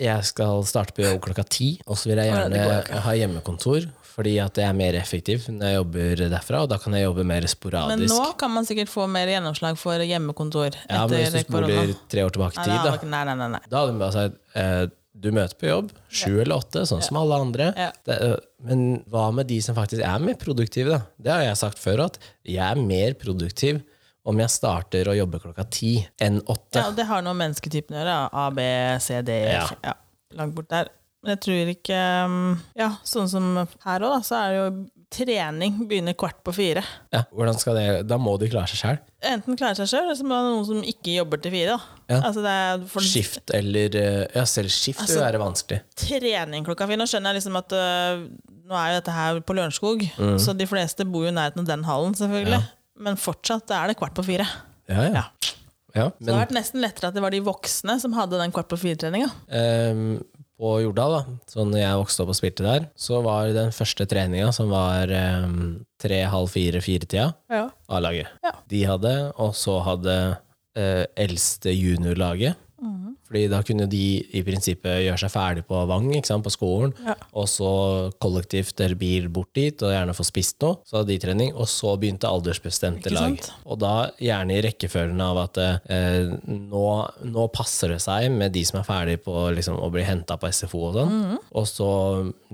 S1: jeg skal starte på jobb klokka ti, og så vil jeg
S2: Å, ja, det
S1: gjerne ha hjemmekontor, Fordi at jeg er mer effektiv når jeg jobber derfra, og da kan jeg jobbe mer
S2: Men
S1: sporadisk.
S2: nå kan man sikkert få mer gjennomslag for hjemmekontor etter
S1: ja, men hvis du
S2: korona.
S1: spoler tre år tilbake i
S2: Nei,
S1: tid,
S2: da
S1: da,
S2: har ikke- Nei, nei, nei, nei.
S1: da hadde hun bare sagt eh, du møter på jobb sju eller åtte, sånn som alle andre.
S2: Ja.
S1: Det, eh, men hva med de som faktisk er mer produktive, da? Det har jeg sagt før, at jeg er mer produktiv om jeg starter å jobbe klokka ti enn åtte.
S2: Ja, og det har noe med mennesketypen å gjøre. ja. A, B, C, D, E.
S1: Ja.
S2: F. Ja. Langt bort der. Men jeg tror ikke um, Ja, sånn som her òg, da, så er det jo trening begynner kvart på fire.
S1: Ja, hvordan skal det, da må de klare seg sjøl.
S2: Enten klare seg sjøl, eller så må det være noen som ikke jobber til fire. Da.
S1: Ja.
S2: Altså det er for
S1: Skift eller eh, Ja, selv skift vil
S2: Altså-
S1: være vanskelig.
S2: trening klokka fire. Nå skjønner jeg liksom at øh, nå er jo dette her på Lørenskog,
S1: Mm.
S2: så de fleste bor jo i nærheten av den hallen, selvfølgelig. Men fortsatt er det kvart på fire.
S1: Ja, ja. ja
S2: det
S1: men
S2: har vært nesten lettere at det var de voksne som hadde den kvart på fire-treninga.
S1: Ehm, på Jordal, da, så når jeg vokste opp og spilte der, så var den første treninga, som var ehm, tre, halv fire, fire-tida,
S2: Ja.
S1: A-laget.
S2: Ja.
S1: De hadde, og så hadde eh, eldste juniorlaget.
S2: Mhm.
S1: Fordi da kunne de i prinsippet gjøre seg ferdig på Vang, ikke sant, på skolen,
S2: Ja.
S1: og så kollektivt eller bil bort dit, og gjerne få spist noe. Så hadde de trening, og så begynte aldersbestemte
S2: Ikke
S1: lag.
S2: sant?
S1: Og da gjerne i rekkefølgen av at eh, nå, nå passer det seg med de som er ferdig på liksom, å bli henta på SFO og sånn,
S2: Mhm.
S1: og så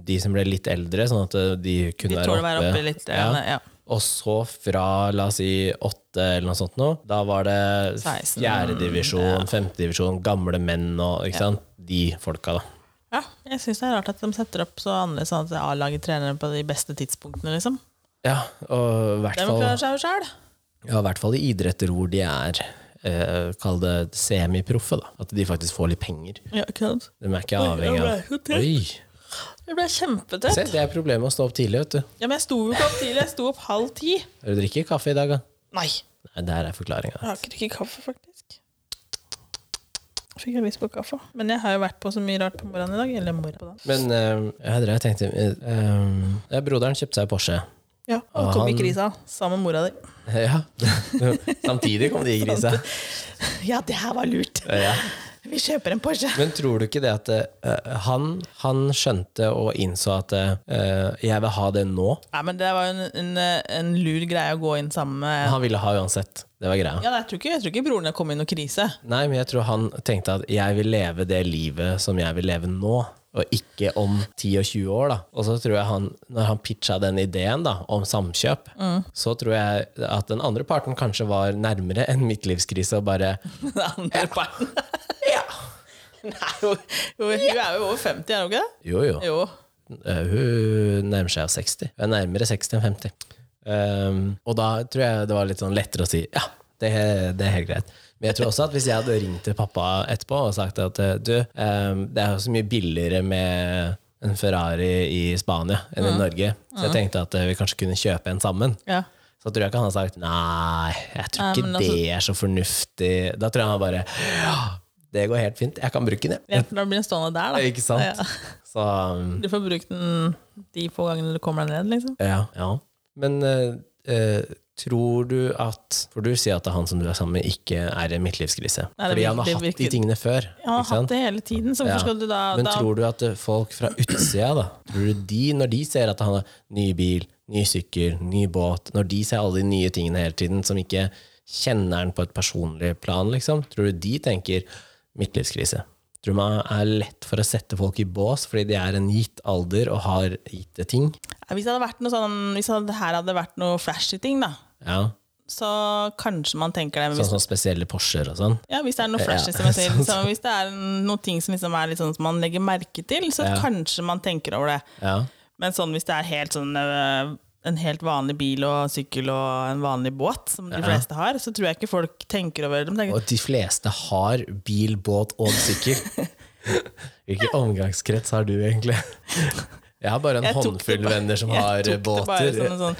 S1: de som ble litt eldre, sånn at eh, de kunne
S2: De
S1: være
S2: tåler å
S1: oppe.
S2: være oppe litt.
S1: Ja.
S2: Ja. Ja.
S1: Og så fra la oss si åtte eller noe sånt nå, da var det
S2: 16,
S1: fjerdedivisjon, femtedivisjon, gamle menn og ikke sant? De folka, da.
S2: Ja, jeg syns det er rart at de setter opp så annerledes sånn at A-laget trener på de beste tidspunktene, liksom.
S1: Ja, og i hvert
S2: De
S1: fall,
S2: klarer seg jo sjøl.
S1: ja, i hvert fall i idretter hvor de er eh, Kall det semiproffe, da. At de faktisk får litt penger.
S2: Ja, ikke sant?
S1: De er ikke
S2: Oi,
S1: avhengig
S2: jeg ble
S1: av
S2: så
S1: Oi!
S2: Jeg ble kjempetrøtt.
S1: Se, det er problemet med å stå opp tidlig, vet du.
S2: Ja, men jeg sto jo ikke opp tidlig, jeg sto opp halv ti.
S1: Du drikker kaffe i dag, da?
S2: Nei,
S1: Nei, der er forklaringa.
S2: jeg har ikke drukket kaffe, faktisk. Fikk jeg lyst på kaffe. Men jeg har jo vært på så mye rart på morgenen i dag. Eller morgenen på dagen.
S1: Men eh, jeg drev og tenkte eh, eh, Broderen kjøpte seg Porsche.
S2: Ja, og kom i krisa sammen med mora di.
S1: ja. Samtidig kom de i grisa.
S2: Ja, det her var lurt.
S1: Ja.
S2: Vi kjøper en Porsche.
S1: Men tror du ikke det at eh, han, han skjønte og innså at eh, jeg vil ha det nå?
S2: Nei, men det var jo en, en, en lur greie å gå inn sammen med
S1: Han ville ha uansett. Det var greia.
S2: Ja, jeg tror ikke, jeg tror ikke broren kom i noen krise.
S1: Nei, men jeg tror han tenkte at jeg vil leve det livet som jeg vil leve nå. Og ikke om 10 og 20 år, da. Og så tror jeg han, når han pitcha den ideen da, om samkjøp, så tror jeg at den andre parten kanskje var nærmere enn midtlivskrise og bare
S2: Den andre parten.
S1: Ja!
S2: Nei, hun, hun, hun er jo over 50, er hun ikke det?
S1: Jo, jo.
S2: Jo.
S1: Eh, Hun nærmer seg jo 60. Hun er nærmere 60 enn 50. Ehm, og da tror jeg det var litt sånn lettere å si ja, det, det er helt greit. Men jeg tror også at hvis jeg hadde ringt til pappa etterpå og sagt at eh, du, ehm, det er jo så mye billigere med en Ferrari i Spania enn
S2: Mm.
S1: i Norge, så jeg tenkte at eh, vi kanskje kunne kjøpe en sammen.
S2: Ja.
S1: Så tror jeg ikke han har sagt nei, jeg tror
S2: Nei,
S1: ikke
S2: men altså-
S1: det er så fornuftig. Da tror jeg han bare ja, det går helt fint, jeg kan bruke den. jeg».
S2: Ja, for Da blir den stående der, da.
S1: Ikke sant?
S2: Ja.
S1: Så um,
S2: Du får brukt den de få gangene du kommer deg ned, liksom.
S1: Ja. Men eh, eh, tror du at For du sier at det er han som du er sammen med, ikke er i en midtlivskrise.
S2: Nei, det
S1: Fordi han har
S2: virker-
S1: hatt de
S2: virker-
S1: tingene før.
S2: Jeg har
S1: ikke
S2: hatt
S1: sant?
S2: det hele tiden, så
S1: Ja.
S2: hvorfor skal du da,
S1: Men
S2: da
S1: tror du at eh, folk fra utsida, da, tror du de, når de ser at han har ny bil, ny sykkel, ny båt, når de ser alle de nye tingene hele tiden, som ikke kjenner han på et personlig plan, liksom, tror du de tenker midtlivskrise? Tror du man er lett for å sette folk i bås fordi de er en gitt alder og har gitte ting?
S2: Nei, Hvis det hadde vært noe sånn Hvis det her hadde vært noe flashy ting, da,
S1: Ja.
S2: så kanskje man tenker det. Men
S1: Sånn
S2: hvis,
S1: som spesielle Porscher og sånn.
S2: ja, hvis det er noe flashy,
S1: Ja,
S2: som jeg sier.
S1: sånn
S2: Så hvis det er noen ting som liksom er litt sånn som man legger merke til, så
S1: Ja.
S2: kanskje man tenker over det.
S1: Ja.
S2: Men sånn hvis det er helt sånn øh, en helt vanlig bil og sykkel og en vanlig båt, som de
S1: Ja.
S2: fleste har, så tror jeg ikke folk tenker over det. De tenker,
S1: Og de fleste har bil, båt og sykkel. Hvilken omgangskrets har du, egentlig? Jeg har bare en
S2: Jeg tok det
S1: håndfull
S2: bare-
S1: venner som
S2: jeg
S1: har
S2: tok det bare
S1: båter,
S2: Som en sånn,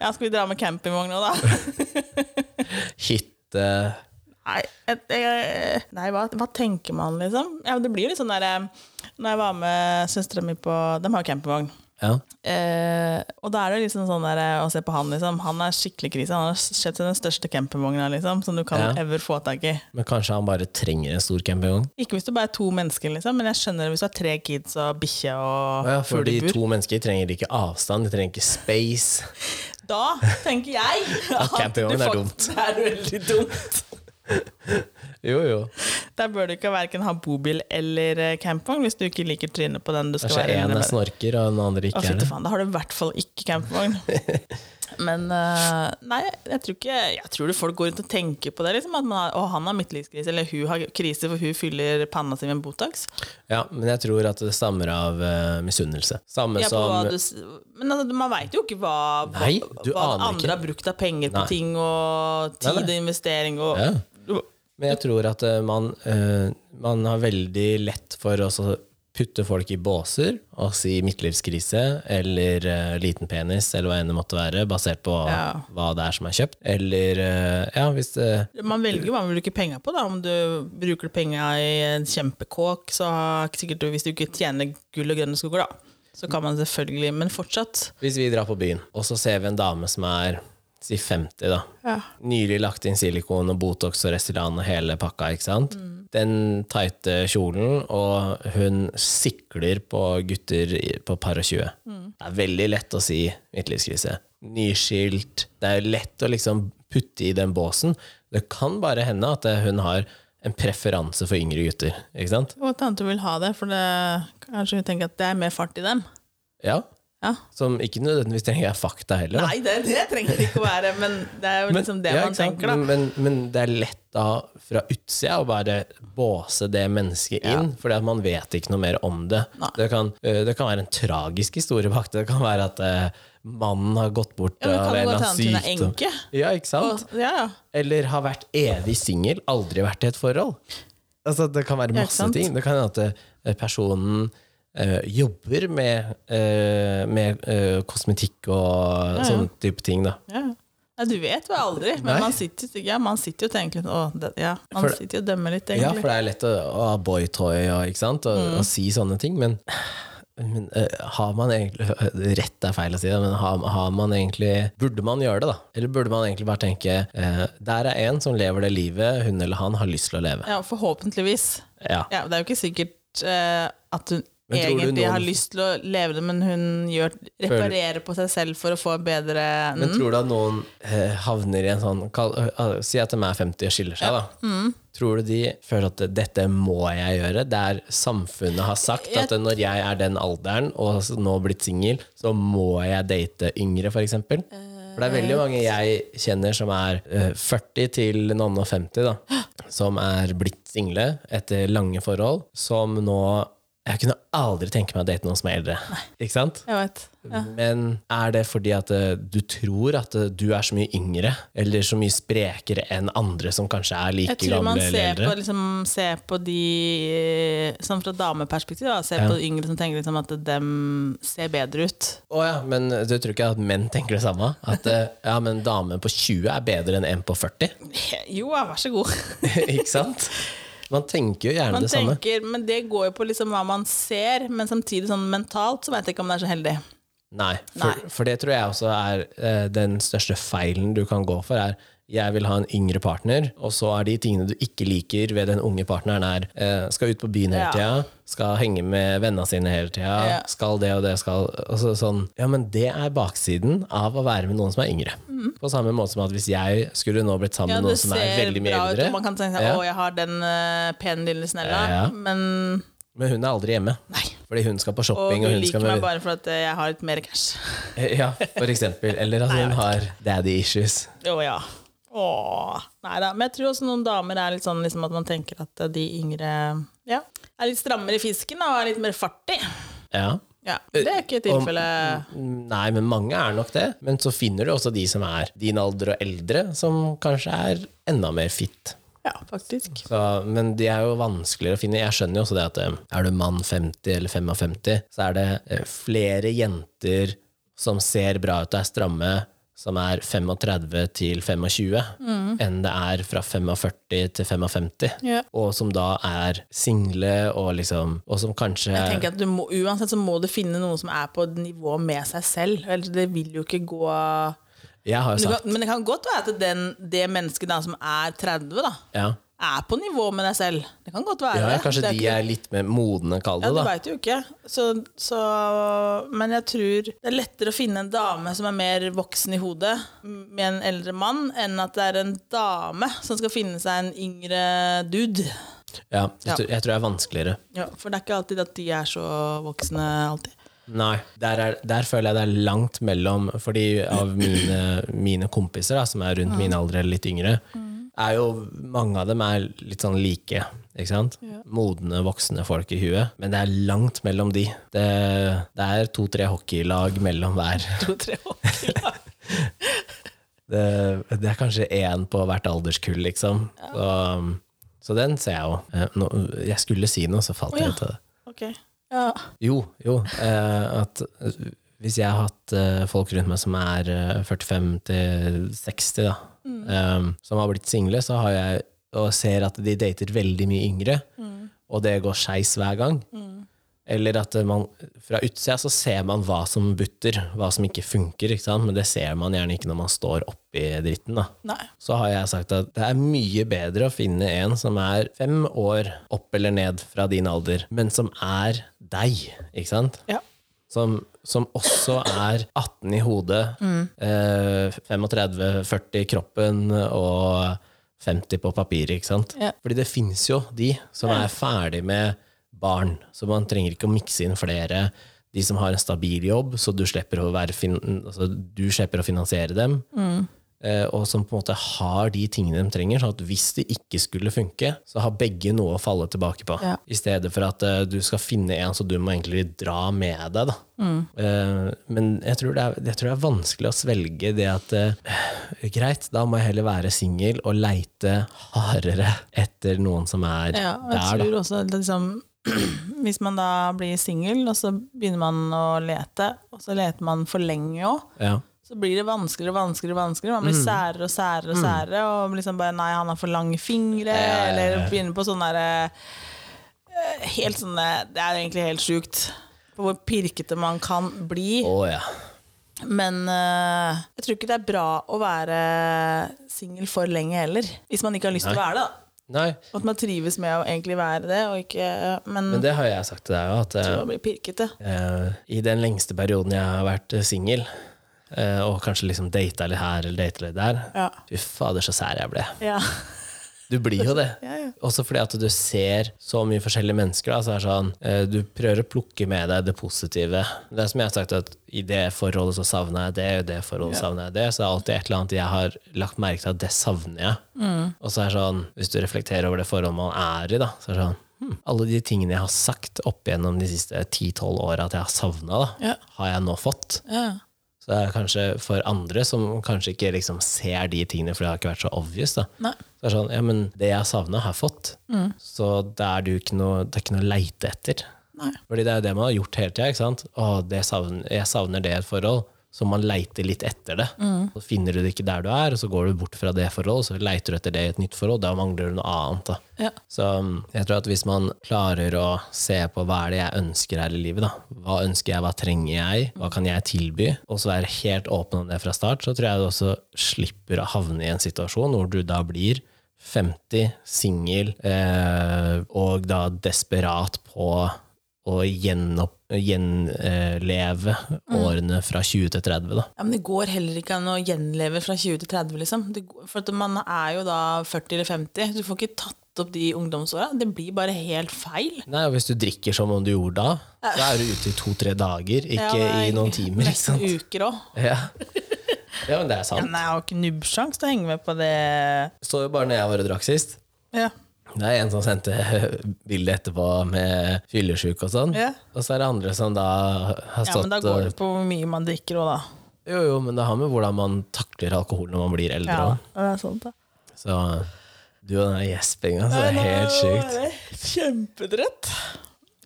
S2: ja, skal vi dra med campingvogn nå, da?
S1: hytte
S2: Nei, jeg, jeg, nei hva, hva tenker man, liksom? Ja, men det blir jo litt sånn der eh, Når jeg var med søstera mi på De har jo campingvogn.
S1: Ja.
S2: Eh, og da er det liksom sånn der, eh, å se på han, liksom. Han er skikkelig krise. Han har sett den største campingvogna liksom, som du kan
S1: Ja.
S2: ever få tak i.
S1: Men kanskje han bare trenger en stor campingvogn?
S2: Ikke hvis du bare er to mennesker, liksom, men jeg skjønner det hvis du har tre kids og bikkje og
S1: Å Ja, fordi
S2: fuglebur.
S1: to mennesker trenger ikke avstand, de trenger ikke space.
S2: Da tenker jeg at
S1: campingvogn er
S2: du fakt-
S1: dumt.
S2: Det er veldig dumt.
S1: Jo, jo.
S2: Der bør du ikke verken ha bobil eller eh, campingvogn hvis du ikke liker trynet på den du skal
S1: Kanskje
S2: være
S1: én er
S2: inne med.
S1: snorker, og den andre
S2: Å,
S1: ikke er
S2: fytti
S1: det.
S2: faen, da har du i hvert fall ikke campingvogn. Men eh, nei, jeg tror ikke Jeg tror folk går rundt og tenker på det. Liksom, at man har, å, han har midtlivskrise, eller hun har krise, for hun fyller panna si med Botox.
S1: Ja, men jeg tror at det stammer av eh, misunnelse. Samme
S2: Ja, på hva
S1: som
S2: du, s- men altså, man veit jo ikke hva, hva,
S1: Nei, du
S2: hva
S1: aner
S2: andre
S1: ikke.
S2: har brukt av penger på
S1: Nei.
S2: ting,
S1: Nei,
S2: og tid og investering og
S1: ja. Men jeg tror at eh, man, eh, man har veldig lett for å så putte folk i båser og si midtlivskrise eller eh, liten penis eller hva enn det måtte være, basert på
S2: Ja.
S1: hva det er som er kjøpt. Eller eh, ja, hvis det
S2: Man velger jo hva man bruker penger på. Da. Om du bruker penga i en kjempekåk, så har ikke sikkert du, hvis du ikke tjener gull og grønne skoger, da, så kan man selvfølgelig Men fortsatt.
S1: Hvis vi drar på byen, og så ser vi en dame som er si 50, da.
S2: Ja.
S1: Nylig lagt inn silikon og Botox og Restylane og hele pakka, ikke sant?
S2: Mm.
S1: Den tighte kjolen, og hun sikler på gutter i- på par og tjue.
S2: Mm.
S1: Det er veldig lett å si midtlivskrise. Nyskilt. Det er lett å liksom putte i den båsen. Det kan bare hende at eh, hun har en preferanse for yngre gutter, ikke sant?
S2: Og at tante vil ha det, for det, kanskje hun tenker at det er mer fart i dem.
S1: Ja.
S2: Ja.
S1: Som ikke nødvendigvis trenger jeg fakta heller. da.
S2: Nei, det, det trenger det ikke å være, men det er jo liksom det
S1: ja,
S2: man
S1: ikke sant?
S2: tenker, da.
S1: Men, men, men det er lett da fra utsida å bare båse det mennesket inn, fordi at man vet ikke noe mer om det.
S2: Nei.
S1: Det kan, eh, det kan være en tragisk historie bak det. Det kan være at eh, mannen har gått bort
S2: Ja, men det
S1: av
S2: kan
S1: en
S2: jo
S1: eller
S2: godt
S1: annen
S2: hende at hun er
S1: sykdom.
S2: enke.
S1: Ja, ikke sant?
S2: Og- Ja, ja.
S1: Eller har vært evig singel, aldri vært i et forhold. Altså, det kan være
S2: Ja, ikke
S1: masse
S2: sant?
S1: ting. Det kan hende at eh, personen eh, jobber med, eh, med eh, kosmetikk og
S2: ja.
S1: sånne type ting, da.
S2: ja. Nei, du vet jo aldri,
S1: Nei.
S2: men man sitter, ja, man sitter jo og tenker litt Å, det, ja. Man
S1: For-
S2: sitter jo og dømmer litt,
S1: Ja,
S2: egentlig.
S1: for det er lett å, å ha boytoy og, ikke sant? Og, og si sånne ting, men, men eh, har man egentlig Rett er feil å si det, men har, har man egentlig Burde man gjøre det, da? Eller burde man egentlig bare tenke eh, Der er en som lever det livet hun eller han har lyst til å leve.
S2: ja, forhåpentligvis.
S1: Ja.
S2: Ja, det er jo ikke sikkert eh, at hun
S1: Men tror du
S2: egentlig
S1: noen-
S2: har lyst til å leve det, men hun gjør, reparerer på seg selv for å få en bedre
S1: Men tror du at noen eh, havner i en sånn kall, eh, Si at de er 50 og skiller seg, da. Tror du de føler at 'dette må jeg gjøre'? Det er samfunnet har sagt at når jeg er den alderen og s- nå blitt singel, så må jeg date yngre, f.eks.? For, for det er veldig mange jeg kjenner som er eh, 40 til noen og 50, da, som er blitt single etter lange forhold, som nå Jeg kunne aldri tenke meg å date noen som er eldre. Ikke sant?
S2: Jeg vet. Ja.
S1: Men er det fordi at eh, du tror at eh, du er så mye yngre, eller så mye sprekere enn andre som kanskje er like
S2: Jeg tror
S1: gamle
S2: man
S1: eller
S2: ser på,
S1: eldre?
S2: liksom, ser på de eh, Sånn fra dameperspektiv, da, ser
S1: Ja.
S2: på de yngre som tenker liksom, at dem ser bedre ut.
S1: Å ja, men eh, du tror ikke at menn tenker det samme? At eh, ja, men dame på 20 er bedre enn en på 40?
S2: Jo, ja, vær så god.
S1: Ikke sant? Man tenker jo gjerne
S2: Man
S1: det samme.
S2: tenker, men det går jo på liksom hva man ser, men samtidig sånn mentalt så veit jeg ikke om det er så heldig.
S1: Nei, for,
S2: Nei.
S1: for det tror jeg også er eh, den største feilen du kan gå for, er jeg vil ha en yngre partner, og så er de tingene du ikke liker ved den unge partneren, er eh, skal ut på byen hele
S2: Ja.
S1: tida, skal henge med vennene sine hele tida,
S2: Ja.
S1: skal det og det, skal altså, sånn, Ja, men det er baksiden av å være med noen som er yngre. På samme måte som at hvis jeg skulle nå blitt sammen med
S2: Mm. Ja, det
S1: noen som er
S2: ser
S1: veldig mye
S2: bra ut,
S1: eldre,
S2: og man kan tenke seg
S1: Ja.
S2: å, jeg har den eh, pene lille snella,
S1: Ja.
S2: men
S1: men hun er aldri hjemme,
S2: Nei.
S1: fordi hun skal på
S2: Og
S1: shopping,
S2: hun
S1: og hun
S2: liker
S1: skal
S2: meg
S1: med
S2: bare for at eh, jeg har litt mer cash.
S1: Ja, for eksempel. Eller at hun har daddy issues.
S2: Å ja. Åh. Nei da. Men jeg tror også noen damer er litt sånn liksom, at man tenker at eh, de yngre ja, er litt strammere i fisken da, og er litt mer fartig.
S1: Ja.
S2: Ja, det er ikke
S1: Eh,
S2: tilfellet.
S1: Nei, men mange er nok det. Men så finner du også de som er din alder og eldre, som kanskje er enda mer fit.
S2: Ja, faktisk.
S1: Så, men de er jo vanskeligere å finne. Jeg skjønner jo også det at eh, er du mann 50 eller 55, så er det eh, flere jenter som ser bra ut og er stramme, som er 35 til 25, enn det er fra 45 til 55.
S2: Mm. Ja.
S1: Og som da er single, og liksom Og som kanskje
S2: Jeg tenker at du må, Uansett så må du finne noen som er på et nivå med seg selv. Ellers det vil jo ikke gå
S1: Jeg har jo
S2: Men det
S1: sagt
S2: kan, men det kan godt være at den, det mennesket da som er 30, da,
S1: ja.
S2: er på nivå med deg selv. Det kan godt være.
S1: ja,
S2: det.
S1: kanskje
S2: det
S1: de er litt mer modne, kall
S2: Ja,
S1: det,
S2: du
S1: da.
S2: veit jo ikke. Så, så, men jeg tror det er lettere å finne en dame som er mer voksen i hodet, m- med en eldre mann, enn at det er en dame som skal finne seg en yngre dude.
S1: Ja, jeg,
S2: Ja.
S1: Tror, jeg tror det er vanskeligere.
S2: Ja, for det er ikke alltid at de er så voksne alltid.
S1: Nei, der, er, der føler jeg det er langt mellom Fordi av mine, mine kompiser da, Som er rundt min alder eller litt yngre
S2: Mm.
S1: Er jo, mange av dem er litt sånn like Ikke sant? Modne, voksne folk i huet Men det er langt mellom de Det, det er to-tre hockeylag mellom hver
S2: To, tre år.
S1: det, det er kanskje én på hvert alderskull liksom Så, så den ser jeg jo Eh, nå, Jeg skulle si noe, så falt
S2: Å, ja.
S1: jeg ut av det
S2: Ok. Ja.
S1: Jo, jo. Eh, at eh, hvis jeg har hatt eh, folk rundt meg som er eh, 45 til 60, da, eh, som har blitt single, så har jeg og ser at de dater veldig mye yngre, og det går skeis hver gang. Eller at eh, man fra utsida så ser man hva som butter, hva som ikke funker, ikke sant? men det ser man gjerne ikke når man står oppi dritten. da
S2: Nei.
S1: så har jeg sagt at det er mye bedre å finne en som er fem år opp eller ned fra din alder, men som er deg, ikke sant?
S2: Ja.
S1: Som, som også er 18 i hodet, eh, 35-40 i kroppen og 50 på papiret, ikke sant?
S2: Ja.
S1: Fordi det finnes jo de som er ferdig med barn, så man trenger ikke å mikse inn flere. De som har en stabil jobb, så du slipper å, være fin altså, du slipper å finansiere dem. Eh, og som på en måte har de tingene de trenger, sånn at hvis det ikke skulle funke, så har begge noe å falle tilbake på.
S2: Ja.
S1: I stedet for at eh, du skal finne en som du må egentlig dra med deg. Da.
S2: Mm.
S1: Eh, men jeg tror, det er, jeg tror det er vanskelig å svelge det at eh, greit, da må jeg heller være singel og leite hardere etter noen som er
S2: Ja, og jeg
S1: der, da.
S2: tror også at liksom, hvis man da blir singel, og så begynner man å lete, og så leter man for lenge òg,
S1: Ja.
S2: så blir det vanskeligere og vanskeligere. og vanskeligere. Man blir
S1: Mm.
S2: særere og særere og særere, og liksom bare 'nei, han har for lange
S1: ja,
S2: fingre',
S1: ja.
S2: eller begynner på sånne derre eh, Helt sånne Det er egentlig helt sjukt på hvor pirkete man kan bli.
S1: Å ja.
S2: Men eh, jeg tror ikke det er bra å være singel for lenge heller. Hvis man ikke har lyst til å være det, da.
S1: Nei,
S2: Og At man trives med å egentlig være det, og ikke eh, Men,
S1: men det har jeg sagt til deg òg, at eh,
S2: å bli pirkete.
S1: Eh, I den lengste perioden jeg har vært eh, singel, eh, og kanskje liksom data litt her eller data litt der
S2: Ja.
S1: Fy fader, så sær jeg ble.
S2: Ja.
S1: Du blir jo det.
S2: Ja, ja.
S1: Også fordi at du ser så mye forskjellige mennesker. Da, så er det sånn, eh, du prøver å plukke med deg det positive. Det er som jeg har sagt, at i det forholdet så savner jeg det, i det forholdet savner jeg det. Så det er alltid et eller annet jeg har lagt merke til at det savner jeg.
S2: Mm.
S1: Og så er det sånn, hvis du reflekterer over det forholdet man er i, da, så er det sånn hm, alle de tingene jeg har sagt opp igjennom de siste 10-12 åra at jeg har savna,
S2: Ja.
S1: har jeg nå fått.
S2: Ja.
S1: Så det er kanskje for andre som kanskje ikke liksom ser de tingene, for det har ikke vært så obvious. da.
S2: Nei.
S1: Så det er sånn, ja, men det jeg savna, har jeg fått. Så det er, det jo ikke noe, det er ikke noe å leite etter.
S2: Nei.
S1: Fordi det er jo det man har gjort hele tida. ikke sant? Å, det savner, jeg savner det i et forhold. Så man leiter litt etter det. Så finner du det ikke der du er, og så går du bort fra det forholdet, så leiter du etter det i et nytt forhold. Da mangler du noe annet. da.
S2: Ja.
S1: Så um, jeg tror at hvis man klarer å se på hva er det jeg ønsker her i livet, da. Hva ønsker jeg, hva trenger jeg, hva kan jeg tilby? Og så være helt åpen om det fra start, så tror jeg du også slipper å havne i en situasjon hvor du da blir 50, singel, eh, og da desperat på å gjenoppleve årene fra 20 til 30, da.
S2: Ja, men det går heller ikke an å gjenleve fra 20 til 30, liksom. Det, går- for at man er jo da 40 eller 50. Du får ikke tatt opp de ungdomsåra. Det blir bare helt feil.
S1: Nei, og Hvis du drikker som om du gjorde da, så er du ute i to-tre dager, ikke
S2: Ja,
S1: i noen timer. ikke sant?
S2: Nesten uker òg.
S1: Ja. ja, men det er sant.
S2: Nei, jeg har ikke nubbsjans til å henge med på det.
S1: Så jo bare når jeg var og drakk sist.
S2: Ja.
S1: Det er en som sendte bilde etterpå med fyllesyk og sånn.
S2: Ja.
S1: Og så er det andre som da har
S2: ja, men
S1: stått
S2: da går det på hvor mye man drikker òg, da.
S1: og Jo, jo, men det har med hvordan man takler alkohol når man blir eldre
S2: Ja,
S1: òg.
S2: det er sant, da.
S1: Så du og den gjespinga, så det er
S2: Nei,
S1: helt
S2: nå er
S1: sjukt.
S2: jeg Kjempedrett.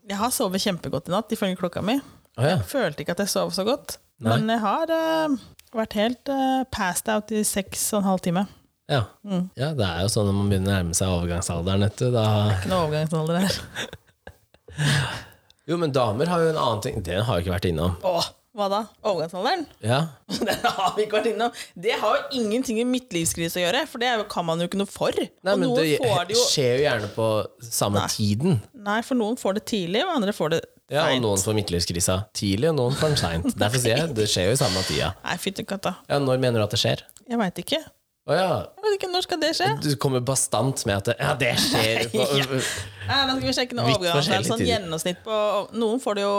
S2: Jeg har sovet kjempegodt i natt, ifølge klokka mi.
S1: Å ja.
S2: Følte ikke at jeg sov så godt.
S1: Nei.
S2: Men jeg har eh, vært helt eh, passed out i seks og en halv time.
S1: Ja.
S2: Mm.
S1: ja, det er jo sånn når man begynner å nærme seg overgangsalderen. Vet du, da...
S2: Ikke noe overgangsalder der.
S1: Jo, men damer har jo en annen ting. Det har jeg ikke vært innom.
S2: Åh, hva da? Overgangsalderen?
S1: Ja,
S2: Den har vi ikke vært innom. Det har jo ingenting med midtlivskrise å gjøre, for det er jo- kan man jo ikke noe for.
S1: Nei,
S2: og
S1: men
S2: noen
S1: det
S2: får det jo
S1: skjer jo gjerne på samme tiden.
S2: Nei, for noen får det tidlig, og andre får det
S1: Ja, og
S2: seint.
S1: noen får midtlivskrisa tidlig, og noen får den seint. Derfor sier jeg det skjer jo i samme tida.
S2: Nei, fytti katta.
S1: Ja, Når mener du at det skjer?
S2: Jeg veit ikke.
S1: Å
S2: Jeg
S1: ja.
S2: vet ikke, Når skal det skje?
S1: Du kommer bastant med at det, Ja, det skjer på
S2: Nei, da skal vi sjekke noen
S1: Vidt
S2: overgangsalderen.
S1: forskjellige
S2: Sånn gjennomsnitt på Noen får det jo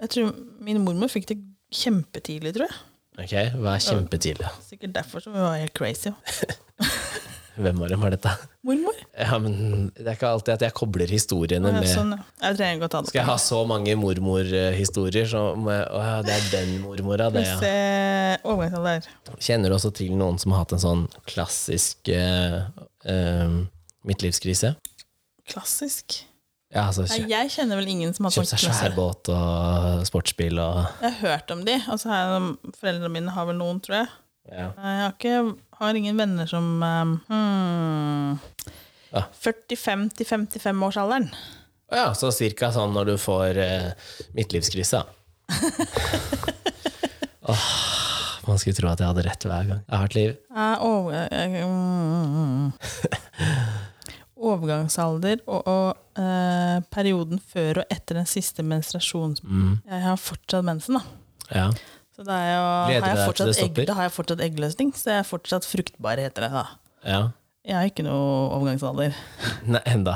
S2: Jeg tror min mormor fikk det kjempetidlig, tror jeg.
S1: Ok, vær kjempetidlig.
S2: Sikkert derfor som hun var helt crazy.
S1: Hvem av dem var dette?
S2: Mormor?
S1: Ja, men Det er ikke alltid at jeg kobler historiene
S2: Ja,
S1: med
S2: sånn, ja. Jeg trenger ikke å ta det
S1: Skal jeg ha så mange mormorhistorier, så må jeg Å ja, det er den mormora, det, ja.
S2: Se overgangsalder.
S1: Kjenner du også til noen som har hatt en sånn klassisk eh, eh, midtlivskrise?
S2: Klassisk.
S1: Ja, altså
S2: Nei,
S1: kjøpt,
S2: jeg kjenner vel ingen som har
S1: kjøpt seg
S2: klassisk.
S1: svær båt og sportsbil og
S2: Jeg har hørt om de. Altså, her, foreldrene mine har vel noen, tror jeg.
S1: ja.
S2: Jeg har, ikke, har ingen venner som um, hmm,
S1: Ja.
S2: 45 til 55 årsalderen.
S1: Å ja, så cirka sånn når du får eh, midtlivskrise. Åh, man skulle tro at jeg hadde rett hver gang. Jeg har et liv.
S2: Er over, eh, mm, overgangsalder og, og eh, perioden før og etter den siste menstruasjons...
S1: Mm.
S2: Jeg har fortsatt mensen, da.
S1: Ja.
S2: Så da, er jeg,
S1: Gleder
S2: jo-
S1: du
S2: har jeg
S1: deg til
S2: fortsatt
S1: det
S2: egg,
S1: stopper?
S2: da har jeg fortsatt eggløsning, så jeg er fortsatt fruktbar, heter det. da.
S1: ja.
S2: Jeg har ikke noe overgangsalder.
S1: Nei, enda.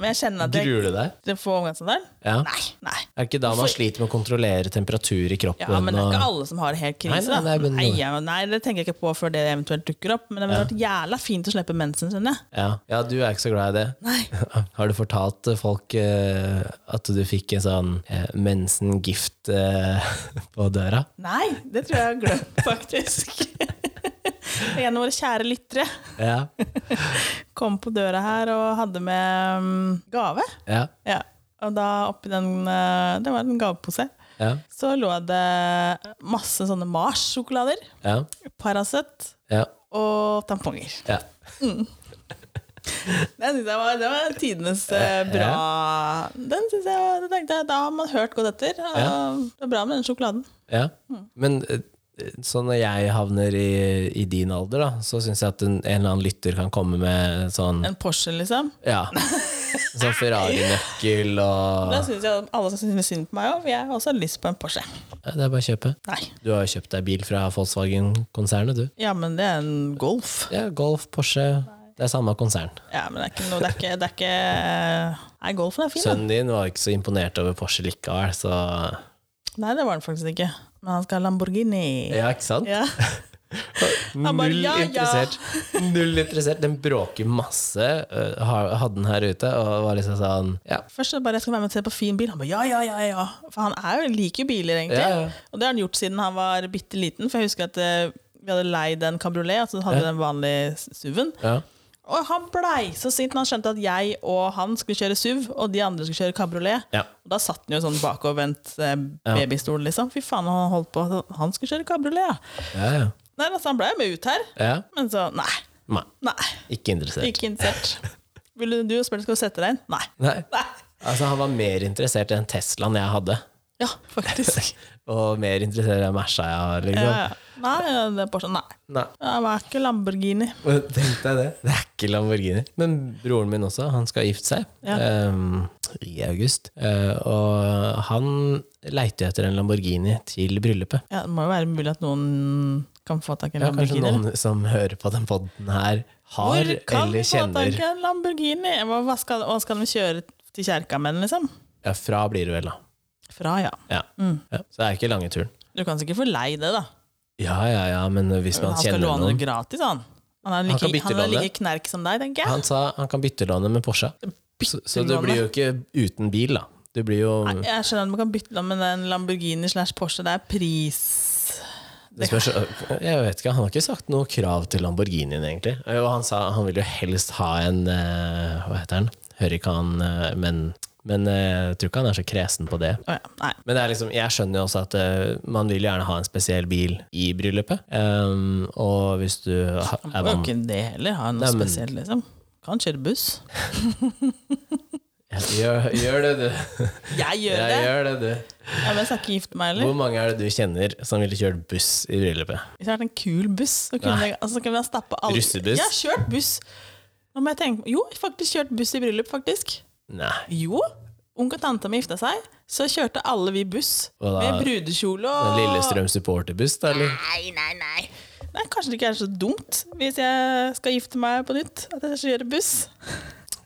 S2: Men jeg kjenner at jeg
S1: Gruer du deg?
S2: til å få overgangsalderen.
S1: Ja.
S2: sånn Nei. nei.
S1: Er det ikke da man
S2: Hvorfor-
S1: sliter med å kontrollere temperatur i kroppen?
S2: Ja, men det er
S1: og-
S2: ikke alle som har helt
S1: eh, Nei,
S2: krise.
S1: nei,
S2: da.
S1: nei, men-
S2: nei, ja, nei, det tenker jeg ikke på før det eventuelt dukker opp. Men det ville vært jævla fint å slippe mensen, skjønner jeg.
S1: Ja. ja, du er ikke så glad i det. Har du fortalt eh, folk eh, at du fikk en sånn eh, mensen-gift eh, på døra?
S2: Nei, det tror jeg jeg har glemt, faktisk. en av våre kjære lyttere
S1: Ja.
S2: kom på døra her og hadde med mm, gave.
S1: Ja.
S2: Ja. Og da oppi den eh, Det var en gavepose.
S1: Ja.
S2: Så lå det masse sånne Mars-sjokolader,
S1: Ja.
S2: Paracet
S1: Ja.
S2: og tamponger.
S1: ja.
S2: Den synes jeg var, det var tidenes eh, bra Den synes jeg var, da tenkte jeg, Da har man hørt godt etter. og
S1: Ja.
S2: Det var bra med den sjokoladen.
S1: Ja.
S2: Mm.
S1: Men eh, så når jeg havner i, i din alder, da, så syns jeg at en, en eller annen lytter kan komme med sånn
S2: En Porsche, liksom.
S1: Ja. Sånn Ferrari-nøkkel og
S2: Da synes jeg alle som synes synd på meg òg, jeg har også lyst på en Porsche.
S1: ja, Det er bare å kjøpe.
S2: Nei.
S1: Du har jo kjøpt deg bil fra Volkswagen-konsernet, du.
S2: Ja, men det er en Golf.
S1: Ja, Golf, Porsche. Det er samme konsern.
S2: Ja, men det er ikke noe Det er ikke, det er ikke Nei, Golfen er fin, da.
S1: Sønnen din var ikke så imponert over Porsche likevel, så
S2: Nei, det var den faktisk ikke. Men han skal ha Lamborghini.
S1: Ja, ikke sant?
S2: Ja. Han bare,
S1: Null
S2: ja, ja.
S1: interessert. Null interessert. Den bråker masse. øh, ha- Hadde den her ute og var liksom sånn Ja,
S2: Først så bare jeg skal være med og se på fin bil. Han bare ja, ja, ja. ja. For han er jo liker jo biler, egentlig.
S1: Ja, ja.
S2: Og det har han gjort siden han var bitte liten. For jeg husker at eh, vi hadde leid en kabriolet, altså hadde vi den vanlige SUV-en.
S1: ja.
S2: Og han blei så sint når han skjønte at jeg og han skulle kjøre SUV, og de andre skulle kjøre kabriolet.
S1: Ja.
S2: Og da satt han jo i sånn bakovervendt eh,
S1: Ja.
S2: babystol, liksom. Fy faen, han holdt på. Han skulle kjøre kabriolet, ja.
S1: Ja, ja.
S2: Nei, altså, han blei med ut her.
S1: ja.
S2: Men så, nei.
S1: Nei,
S2: Nei.
S1: ikke interessert.
S2: Ikke interessert. Ville du spørre skal du sette deg inn? Nei.
S1: Nei.
S2: Nei.
S1: Altså, han var mer interessert i den Teslaen jeg hadde,
S2: Ja, faktisk.
S1: og mer interessert i den Merca jeg har,
S2: Ja,
S1: liksom.
S2: ja. Nei, ja, det er Porsche. Nei.
S1: Nei.
S2: Det var ikke Lamborghini.
S1: Men Tenk deg det. Det er ikke Lamborghini. Men broren min også, han skal gifte seg
S2: Ja.
S1: ehm, i august. Eh, og han leiter etter en Lamborghini til bryllupet.
S2: Ja, det må jo være mulig at noen kan få tak i en
S1: Ja, kanskje
S2: Lamborghini.
S1: noen som hører på den podden her, har
S2: Hvor kan
S1: eller
S2: vi få tak
S1: kjenner
S2: i en Lamborghini? Hva hva skal, hva skal de kjøre til kjerka med den, liksom?
S1: ja, Fra blir det vel, da.
S2: Fra, ja.
S1: Ja.
S2: Mm.
S1: Ja. Så det er ikke lange turen.
S2: Du kan sikkert få lei det, da.
S1: Ja, ja, ja, men hvis man
S2: Han skal
S1: kjenner
S2: låne
S1: noen
S2: det gratis, han. Han er
S1: Han kan
S2: like,
S1: bytte
S2: han er
S1: låne.
S2: like knerk som deg, tenker jeg.
S1: Han sa han kan byttelåne med Porsche. Så, så du
S2: Byttelåne?
S1: blir jo ikke uten bil, da. Du blir jo
S2: Jeg skjønner at man kan bytte lån med en Lamborghini slash Porsche. Det er pris
S1: Det spørs, jeg vet ikke, Han har ikke sagt noe krav til Lamborghinien, egentlig. Jo, han sa han ville jo helst ha en eh, Hva heter den? Hurrikan, eh, men Men eh, jeg tror ikke han er så kresen på det.
S2: Å ja. Nei.
S1: Men det er liksom, jeg skjønner jo også at eh, man vil gjerne ha en spesiell bil i bryllupet. Ehm, og hvis du ha-
S2: Han
S1: er
S2: må jo
S1: vam-
S2: ikke det heller ha noe
S1: Nei, men-
S2: spesielt, liksom. Kan kjøre buss.
S1: gjør, gjør det, du.
S2: Jeg gjør
S1: Ja,
S2: det!
S1: gjør det, du.
S2: Ja, men jeg skal ikke gifte meg
S1: Hvor
S2: heller.
S1: mange er det du kjenner som ville kjørt buss i bryllupet?
S2: Hvis det hadde vært en kul buss, så kunne jeg, altså, så kunne jeg stappe alt
S1: Russebuss?
S2: Jeg har kjørt buss. Nå må jeg tenke Jo, jeg har faktisk kjørt buss i bryllup, faktisk.
S1: Nei.
S2: Jo. Onkel og tanta mi gifta seg, så kjørte alle vi buss.
S1: Hva da?
S2: Med brudekjole
S1: En
S2: og
S1: Lillestrøm supporterbuss, da, eller?
S2: Nei, nei, nei. Nei, Kanskje det ikke er så dumt hvis jeg skal gifte meg på nytt, at jeg skal kjøre buss.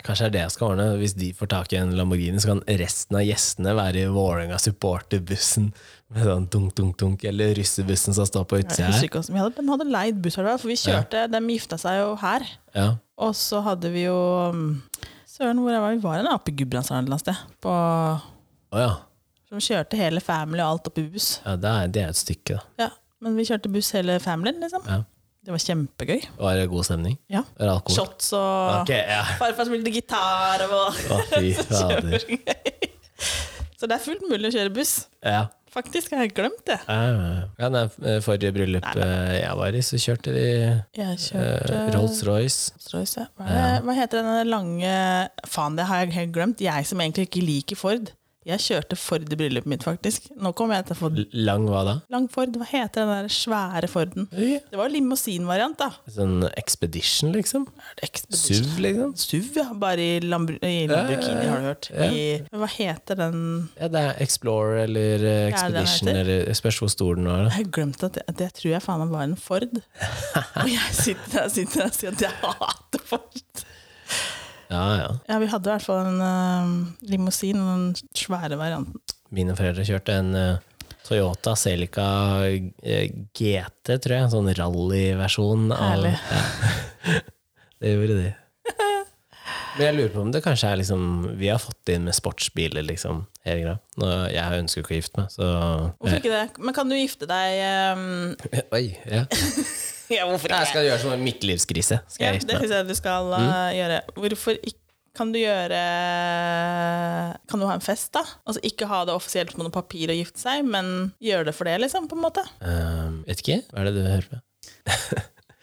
S1: Kanskje det er det jeg skal ordne. Hvis de får tak i en Lamborghini, så kan resten av gjestene være i Vålerenga supporterbussen med sånn dunk-dunk-dunk, eller russebussen som står på
S2: Jeg
S1: utsida
S2: husker
S1: her.
S2: ikke hvordan- Vi hadde, de hadde leid buss, her da, for vi kjørte, de gifta seg jo her.
S1: Ja.
S2: Og så hadde vi jo um, Søren, hvor var vi? Vi var en oppe i Gudbrandsdalen et eller annet sted. På,
S1: Å ja.
S2: som kjørte hele family og alt opp i buss.
S1: ja det, er, det er et stykke, da.
S2: Ja, Men vi kjørte buss hele familien, liksom.
S1: Ja.
S2: Det var kjempegøy.
S1: Var det god stemning?
S2: Ja.
S1: Var det alkohol?
S2: Shots og
S1: Ok, ja.
S2: Farfar spilte gitar og
S1: Å, fy fader.
S2: Så det er fullt mulig å kjøre buss.
S1: Ja.
S2: Faktisk har jeg glemt det.
S1: Ja, ja, ja. nei, forrige bryllup eh, jeg var i, så kjørte de
S2: Jeg kjørte
S1: eh, Rolls-Royce.
S2: Rolls-Royce, ja. Hva, er det- hva heter den lange Faen, det har jeg helt glemt. Jeg som egentlig ikke liker Ford. Jeg kjørte Ford i bryllupet mitt, faktisk. Nå kommer jeg til å få
S1: L- Lang hva da?
S2: lang Ford. Hva heter den der svære Forden? Det var jo limousin-variant, da.
S1: Sånn Expedition, liksom?
S2: Expedition.
S1: SUV, liksom?
S2: SUV, ja. Bare i, lambru i Lamborghini, har du hørt. I, hva heter den
S1: Ja, det er Explorer eller eh,
S2: Ja, den
S1: Expedition,
S2: heter.
S1: eller jeg spørs hvor stor den var.
S2: Jeg
S1: Da.
S2: har glemt at det, at det tror jeg faen meg var en Ford. Og jeg sitter der, sitter der og sier at jeg hater Ford.
S1: Ja, ja.
S2: Ja, vi hadde i hvert fall en eh, limousin, den svære varianten.
S1: Mine foreldre kjørte en eh, Toyota Celica eh, GT, tror jeg. En sånn rallyversjon. av-
S2: Herlig.
S1: Ja. det gjorde de. Men jeg lurer på om det kanskje er liksom Vi har fått det inn med sportsbiler, liksom. Hele greia. Nå, jeg ønsker ikke å gifte meg, så
S2: Hvorfor ikke det? Men kan du gifte deg eh,
S1: Oi. Ja.
S2: Ja, hvorfor
S1: Jeg skal gjøre sånn midtlivskrise. Skal
S2: Ja,
S1: jeg
S2: det
S1: gifte meg?
S2: syns jeg du skal eh, gjøre. Hvorfor ikke? Kan du gjøre Kan du ha en fest, da? Altså ikke ha det offisielt på noe papir og gifte seg, men gjøre det for det, liksom, på en måte.
S1: Ehm, vet ikke. Hva er det du hører på?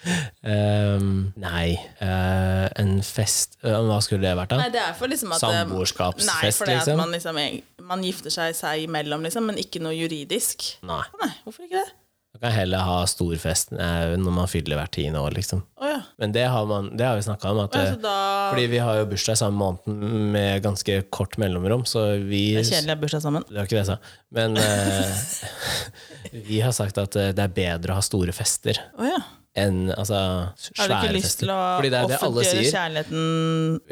S1: Ehm, nei. eh, en fest Eh, Hva skulle det vært, da?
S2: Nei, det er for liksom at
S1: Samboerskapsfest,
S2: Nei, for det
S1: liksom?
S2: at man, liksom, man gifter seg seg imellom, liksom, men ikke noe juridisk.
S1: Nei.
S2: Nei, hvorfor ikke det?
S1: Man kan heller ha stor fest eh, når man fyller hvert tiende år, liksom.
S2: Å ja.
S1: Men det har, man, det har vi snakka om. At,
S2: Å ja,
S1: eh,
S2: så da
S1: fordi vi har jo bursdag samme måneden med ganske kort mellomrom, så vi
S2: Det er kjedelig å ha bursdag sammen.
S1: Det var ikke det jeg sa. Men eh, vi har sagt at eh, det er bedre å ha store fester
S2: Å ja.
S1: enn altså,
S2: Har du ikke
S1: svære
S2: lyst
S1: fester.
S2: til å
S1: Fordi det er det alle
S2: offentliggjøre
S1: sier.
S2: kjærligheten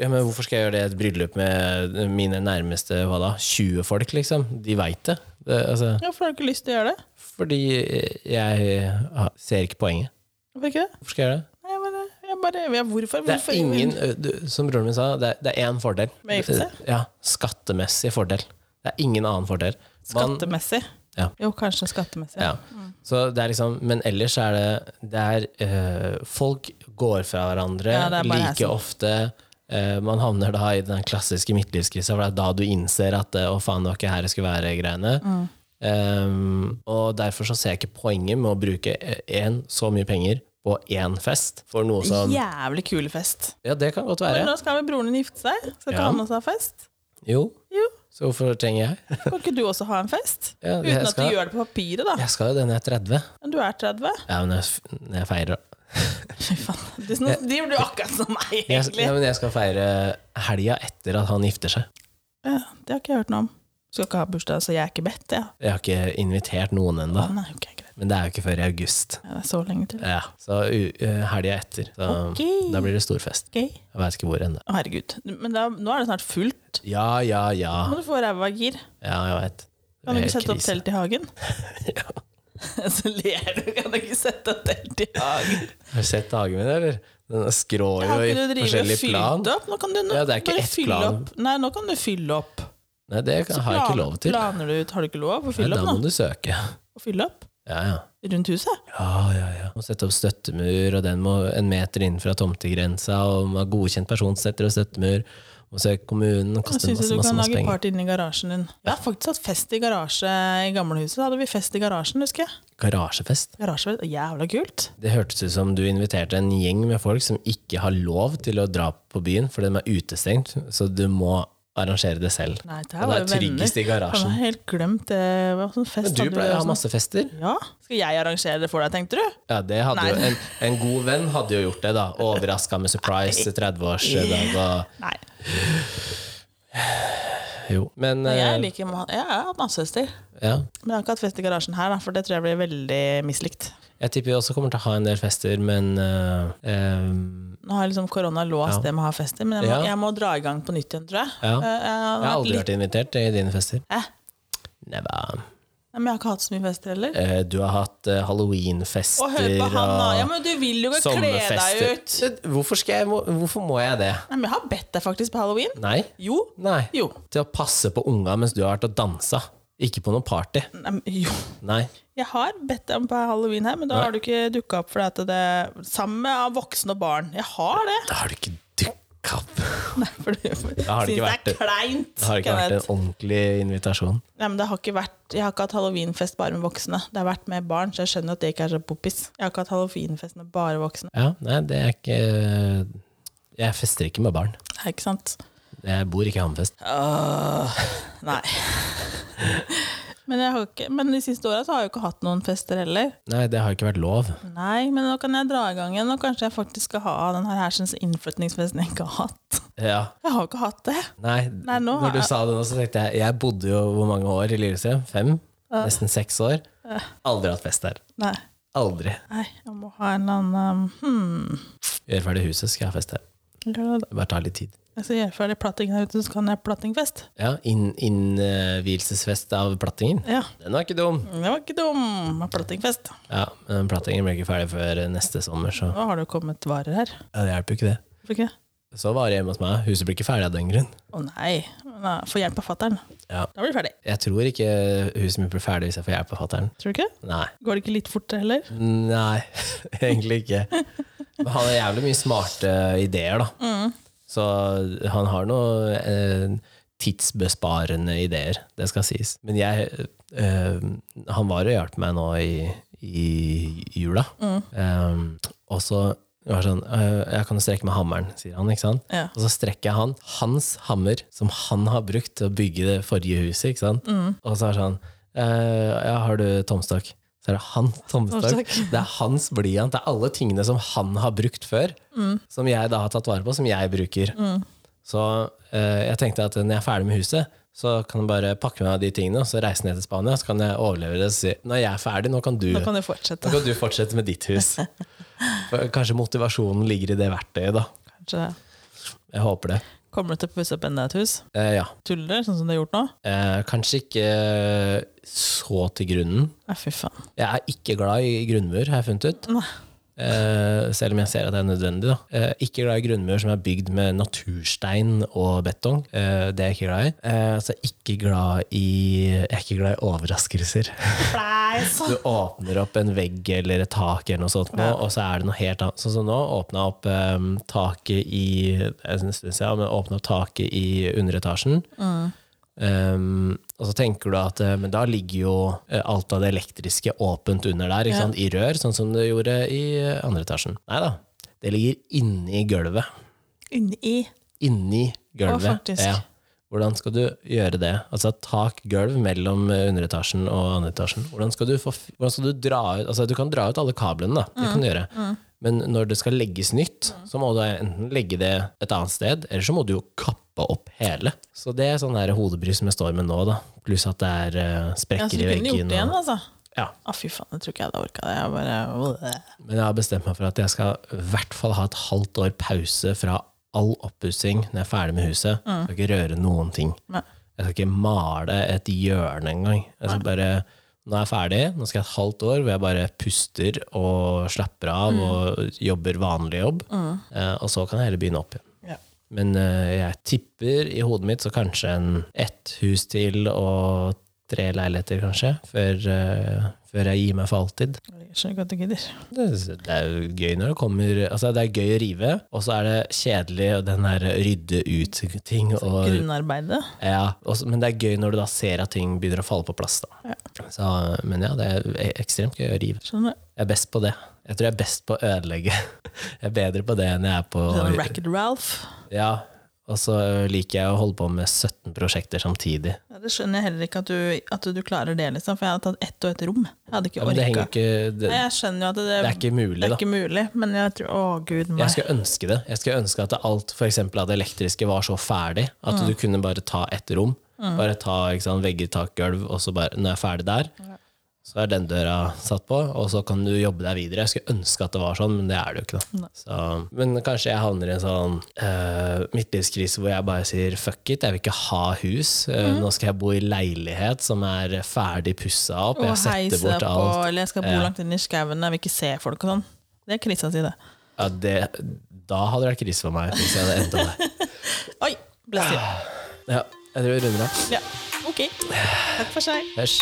S1: ja, men hvorfor skal jeg gjøre det i et bryllup med mine nærmeste hva da, 20 folk, liksom? De veit det. det altså,
S2: Ja, Hvorfor har du ikke lyst til å gjøre det?
S1: fordi jeg har- ser ikke poenget.
S2: Hvorfor ikke det?
S1: Hvorfor skal jeg gjøre det?
S2: Nei, men jeg bare ja, Hvorfor?
S1: Det
S2: hvorfor?
S1: er ingen, ø, du- Som broren min sa, det er- det er én fordel.
S2: Med å gifte seg?
S1: Ja, Skattemessig fordel. Det er ingen annen fordel. Man-
S2: Skattemessig?
S1: Ja.
S2: Jo, kanskje skattemessig.
S1: Ja. Så det er liksom, men ellers er det, det er, eh, Folk går fra hverandre
S2: Ja, det er bare
S1: like
S2: hæsen.
S1: ofte. Eh, man havner da i den klassiske midtlivskrisa, for det er da du innser at eh, 'å faen, det var ikke her jeg skulle være'-greiene. og derfor så ser jeg ikke poenget med å bruke én så mye penger på én fest for noe som
S2: Jævlig kul fest.
S1: Ja, det kan godt
S2: Men
S1: være.
S2: nå skal vel broren din gifte seg? Skal ikke
S1: Ja.
S2: han også ha fest?
S1: Jo,
S2: Jo,
S1: så hvorfor trenger jeg?
S2: kan ikke du også ha en fest?
S1: Ja, jeg
S2: Uten at
S1: skal-
S2: du gjør det på papiret, da.
S1: Jeg skal jo det når jeg er 30.
S2: Men du er 30.
S1: Ja, men jeg, f- når jeg feirer da.
S2: Fy faen. Det, er sånn- det gjør du akkurat som meg,
S1: jeg,
S2: egentlig.
S1: ja, men jeg skal feire helga etter at han gifter seg.
S2: Ja, det har ikke jeg hørt noe om. Du skal ikke ha bursdag, så jeg er ikke bedt, ja.
S1: Jeg har ikke invitert noen ennå,
S2: Nei, ok, greit.
S1: men det er jo ikke før i august.
S2: Ja, det er så lenge til.
S1: Ja, så u- eh, helga etter. Så,
S2: Ok.
S1: Da blir det storfest.
S2: Gøy.
S1: Jeg veit ikke hvor ennå.
S2: Å, herregud. Men da, nå er det snart fullt.
S1: Ja, ja, ja.
S2: Nå må du få ræva i gir.
S1: Ja, jeg veit.
S2: Kan du ikke sette opp
S1: selv?
S2: telt i hagen? Så ler du, kan du ikke sette opp telt i hagen?
S1: Har du sett hagen min, eller? Den skrår jo
S2: Har
S1: i
S2: ikke du drive
S1: forskjellig
S2: og
S1: plan.
S2: fylt opp? Nå kan du nå,
S1: Ja, det er ikke
S2: bare
S1: ett
S2: fylle
S1: plan.
S2: opp. Nei, nå kan du fylle opp.
S1: Nei, det kan, har jeg ikke lov til.
S2: Planer du ut, har du ikke lov å
S1: Nei,
S2: fylle
S1: da
S2: opp
S1: må
S2: nå?
S1: du søke.
S2: Å fylle opp?
S1: Ja, ja.
S2: Rundt huset?
S1: Ah, Ja, ja, ja. Må sette opp støttemur, og den må en meter inn fra tomtegrensa, og må ha godkjent person som setter opp støttemur. må søke kommunen, det koster
S2: Syns
S1: masse,
S2: du du
S1: masse,
S2: kan
S1: masse
S2: lage
S1: penger.
S2: party inni garasjen din? Vi har faktisk hatt fest i garasje i gamlehuset. Da hadde vi fest i garasjen, husker jeg.
S1: Garasjefest?
S2: Garasje, Jævla kult.
S1: Det hørtes ut som du inviterte en gjeng med folk som ikke har lov til å dra på byen, for de er utestengt, så du må arrangere det selv.
S2: Nei, det her
S1: Og det
S2: var
S1: er
S2: jo venner.
S1: tryggest i
S2: Jeg
S1: garasjen.
S2: har helt glemt det. Hva sånn fest
S1: Men du
S2: hadde vi
S1: pleier å
S2: og
S1: ha
S2: sånn?
S1: masse fester.
S2: Ja. Skal jeg arrangere det for deg, tenkte du?
S1: Ja, det hadde
S2: Nei.
S1: jo, en, en god venn hadde jo gjort det, da. Overraska med surprise til 30-årsdag og
S2: Nei.
S1: Jo. Men
S2: Men jeg
S1: eh,
S2: liker ma- Jeg har hatt masse fester.
S1: ja.
S2: Men jeg har ikke hatt fest i garasjen her, da, for det tror jeg blir veldig mislikt.
S1: Jeg tipper vi også kommer til å ha en del fester, men eh, eh,
S2: Nå har liksom korona låst
S1: Ja.
S2: det med å ha fester, men jeg må,
S1: Ja.
S2: jeg må dra i gang på nytt igjen, tror jeg.
S1: Ja.
S2: Eh,
S1: Jeg har aldri
S2: litt-
S1: vært invitert i dine fester.
S2: Hæ?
S1: Never.
S2: Nei, Men jeg har ikke hatt så mye fester heller.
S1: Eh, Du har hatt eh, halloweenfester
S2: Å, hør på han, da! Ja, men du vil jo ikke kle deg
S1: sommerfester. Eh,
S2: ut!
S1: Hvorfor, skal jeg, må- hvorfor må jeg det?
S2: Nei, men jeg har bedt deg faktisk på halloween.
S1: Nei.
S2: Jo.
S1: Nei.
S2: Jo.
S1: Til å passe på unga mens du har vært og dansa. Ikke på noe party.
S2: Nei, men jo.
S1: Nei.
S2: Jeg har bedt deg om på halloween her, men da har du ikke dukka opp fordi at det Sammen med voksne og barn. Jeg har det!
S1: Da har du ikke dukka opp.
S2: Nei, for du syns det
S1: har det ikke vært
S2: er
S1: det.
S2: kleint.
S1: Det har ikke vært en
S2: Kenneth.
S1: ordentlig invitasjon.
S2: Nei, men det har ikke vært, jeg har ikke hatt halloweenfest bare med voksne. Det har vært med barn, så jeg skjønner at det ikke er så poppis. Jeg har ikke hatt halloweenfest med bare voksne.
S1: Ja, nei, det er ikke eh, Jeg fester ikke med barn.
S2: Nei, ikke sant?
S1: Jeg bor ikke i Hammerfest.
S2: Åh, nei. men, jeg har ikke, men de siste åra har jeg jo ikke hatt noen fester heller.
S1: Nei, det har ikke vært lov.
S2: Nei, men nå kan jeg dra i gang igjen, og kanskje jeg faktisk skal ha den her hersens innflytningsfesten jeg ikke har hatt.
S1: Ja,
S2: Jeg har jo ikke hatt det.
S1: Nei,
S2: Nei, nå
S1: når du
S2: er-
S1: sa det nå, så tenkte jeg Jeg bodde jo hvor mange år i Lillestrøm? Fem? Nesten seks år. Aldri hatt fest der.
S2: Nei.
S1: Aldri.
S2: Nei, jeg må ha en eller annen um, hmm.
S1: Gjør ferdig huset, skal jeg ha fest der.
S2: lørdag.
S1: Det bare tar litt tid.
S2: Jeg skal gjøre ferdig plattingen her ute, så kan jeg ha plattingfest.
S1: Ja, inn- Innvielsesfest av plattingen.
S2: Ja.
S1: Den var ikke dum.
S2: Det var ikke dum. Plattingfest.
S1: Ja, men plattingen ble ikke ferdig før neste sommer, så
S2: Nå har det jo kommet varer her.
S1: ja, det hjelper jo ikke det.
S2: Hvorfor ikke?
S1: Så var det hjemme hos meg. Huset blir ikke ferdig av den grunn.
S2: Å nei. nei. Få hjelp av fattern.
S1: Ja.
S2: Da blir du ferdig.
S1: Jeg tror ikke huset mitt blir ferdig hvis jeg får hjelp av fatter'n.
S2: Tror du ikke?
S1: Nei.
S2: Går det ikke litt fortere heller?
S1: Nei, egentlig ikke. Men han har jævlig mye smarte ideer, da. Så han har noen eh, tidsbesparende ideer, det skal sies. Men jeg eh, Han var og hjalp meg nå i, i jula. Eh, og så var det sånn eh, Jeg kan jo strekke med hammeren, sier han. ikke sant?
S2: Ja.
S1: Og så strekker jeg han hans hammer, som han har brukt til å bygge det forrige huset. ikke sant? Og så er det sånn eh, Ja, har du tomstokk? Så er det hans tomstokk.
S2: Tomstokk.
S1: Det er hans blyant. Det er alle tingene som han har brukt før, som jeg da har tatt vare på, som jeg bruker. Så eh, jeg tenkte at når jeg er ferdig med huset, så kan jeg bare pakke med meg de tingene og så reise ned til Spania. Så kan jeg overlevere det og si når jeg er ferdig, nå kan du,
S2: Da
S1: nå
S2: kan du fortsette.
S1: kan du fortsette med ditt hus. For Kanskje motivasjonen ligger i det verktøyet, da.
S2: Kanskje
S1: Jeg håper det.
S2: kommer du til å pusse opp enda et hus?
S1: Eh, ja.
S2: Tuller du, sånn som du har gjort nå?
S1: Eh, kanskje ikke så til grunnen.
S2: Nei, fy faen.
S1: Jeg er ikke glad i grunnmur, har jeg funnet ut.
S2: Nei.
S1: Eh, selv om jeg ser at det er nødvendig. Da. Eh, ikke glad i grunnmur som er bygd med naturstein og betong. Eh, det er jeg ikke glad i. Eh, så jeg er ikke glad i Jeg er ikke glad i overraskelser. Du åpner opp en vegg eller et tak, eller noe sånt nå, og så er det noe helt annet. Sånn som nå, åpna opp eh, taket i jeg synes jeg, men åpnet opp taket i underetasjen. Um, og så tenker du at eh, men da ligger jo eh, alt av det elektriske åpent under der, ikke
S2: Ja.
S1: sant? i rør, sånn som det gjorde i eh, andre etasjen. Nei da, det ligger inni gulvet.
S2: Inni.
S1: Inni gulvet.
S2: faktisk.
S1: ja. Hvordan skal du gjøre det? Altså tak, gulv mellom eh, underetasjen og andre etasjen. Hvordan skal du, få, f- hvordan skal du dra ut Altså, du kan dra ut alle kablene, da. Det
S2: Mm,
S1: kan du gjøre. Men når det skal legges nytt, så må du enten legge det et annet sted, eller så må du jo kappe opp hele. Så det er sånn der hodebry som jeg står med nå, da. Pluss at det er eh,
S2: Ja, så
S1: sprekker i
S2: du kunne gjort
S1: veggen.
S2: det igjen,
S1: Og,
S2: altså.
S1: ja.
S2: Å, fy faen, jeg tror ikke jeg hadde orka det. Jeg bare
S1: Men jeg har bestemt meg for at jeg skal i hvert fall ha et halvt år pause fra all oppussing når jeg er ferdig med huset. Jeg skal ikke røre noen ting.
S2: Mm. Nei.
S1: Jeg skal ikke male et hjørne engang. Jeg skal bare, nå er jeg ferdig, nå skal jeg ha et halvt år hvor jeg bare puster og slapper av
S2: Mm.
S1: og jobber vanlig jobb. Eh, Og så kan jeg heller begynne opp igjen.
S2: Ja.
S1: Men eh, jeg tipper i hodet mitt så kanskje en ett hus til og tre leiligheter, kanskje, før, eh, før jeg gir meg for alltid.
S2: Jeg skjønner ikke at du gidder.
S1: Det, det er jo gøy når det kommer Altså, det er gøy å rive, og så er det kjedelig og den der rydde ut-ting. og
S2: Grunnarbeidet.
S1: ja, også, men det er gøy når du da ser at ting begynner å falle på plass. Da. Så, men ja, det er e- ekstremt gøy å rive.
S2: Skjønner du?
S1: Jeg er best på det. Jeg tror jeg er best på å ødelegge. Jeg er bedre på det enn jeg er på
S2: Sånn Racket Ralph.
S1: Ja, og så liker jeg å holde på med 17 prosjekter samtidig.
S2: Ja, det skjønner jeg heller ikke at du, at du klarer det, liksom, for jeg hadde tatt ett og ett rom. Jeg hadde ikke
S1: Ja, men det henger
S2: orka.
S1: ikke det,
S2: Nei, jeg skjønner jo at det,
S1: det er ikke mulig,
S2: det er
S1: da.
S2: ikke mulig, men jeg tror Å, gud
S1: Jeg
S2: meg.
S1: skal ønske det. Jeg skal ønske at alt for eksempel, av det elektriske var så ferdig at
S2: Mm.
S1: du kunne bare ta ett rom. Bare ta ikke sant, vegger, tak, gulv, og så bare, når jeg er ferdig der, så er den døra satt på, og så kan du jobbe deg videre. Jeg skulle ønske at det var sånn, men det er det jo ikke. da. Så, men kanskje jeg havner i en sånn eh, midtlivskrise hvor jeg bare sier fuck it, jeg vil ikke ha hus.
S2: Mm.
S1: Eh, Nå skal jeg bo i leilighet som er ferdig pussa opp.
S2: Og
S1: Jeg setter
S2: heise
S1: bort
S2: på,
S1: alt.
S2: eller jeg skal bo langt inn i skauen, jeg vil ikke se folk og sånn. Det er krisa si, det.
S1: Ja, det, da hadde det vært krise for meg hvis jeg hadde endt opp der.
S2: Oi! Bless you.
S1: Ah. Ja, jeg tror vi runder av.
S2: Ja. Ok. Takk for seg.
S1: Hørs.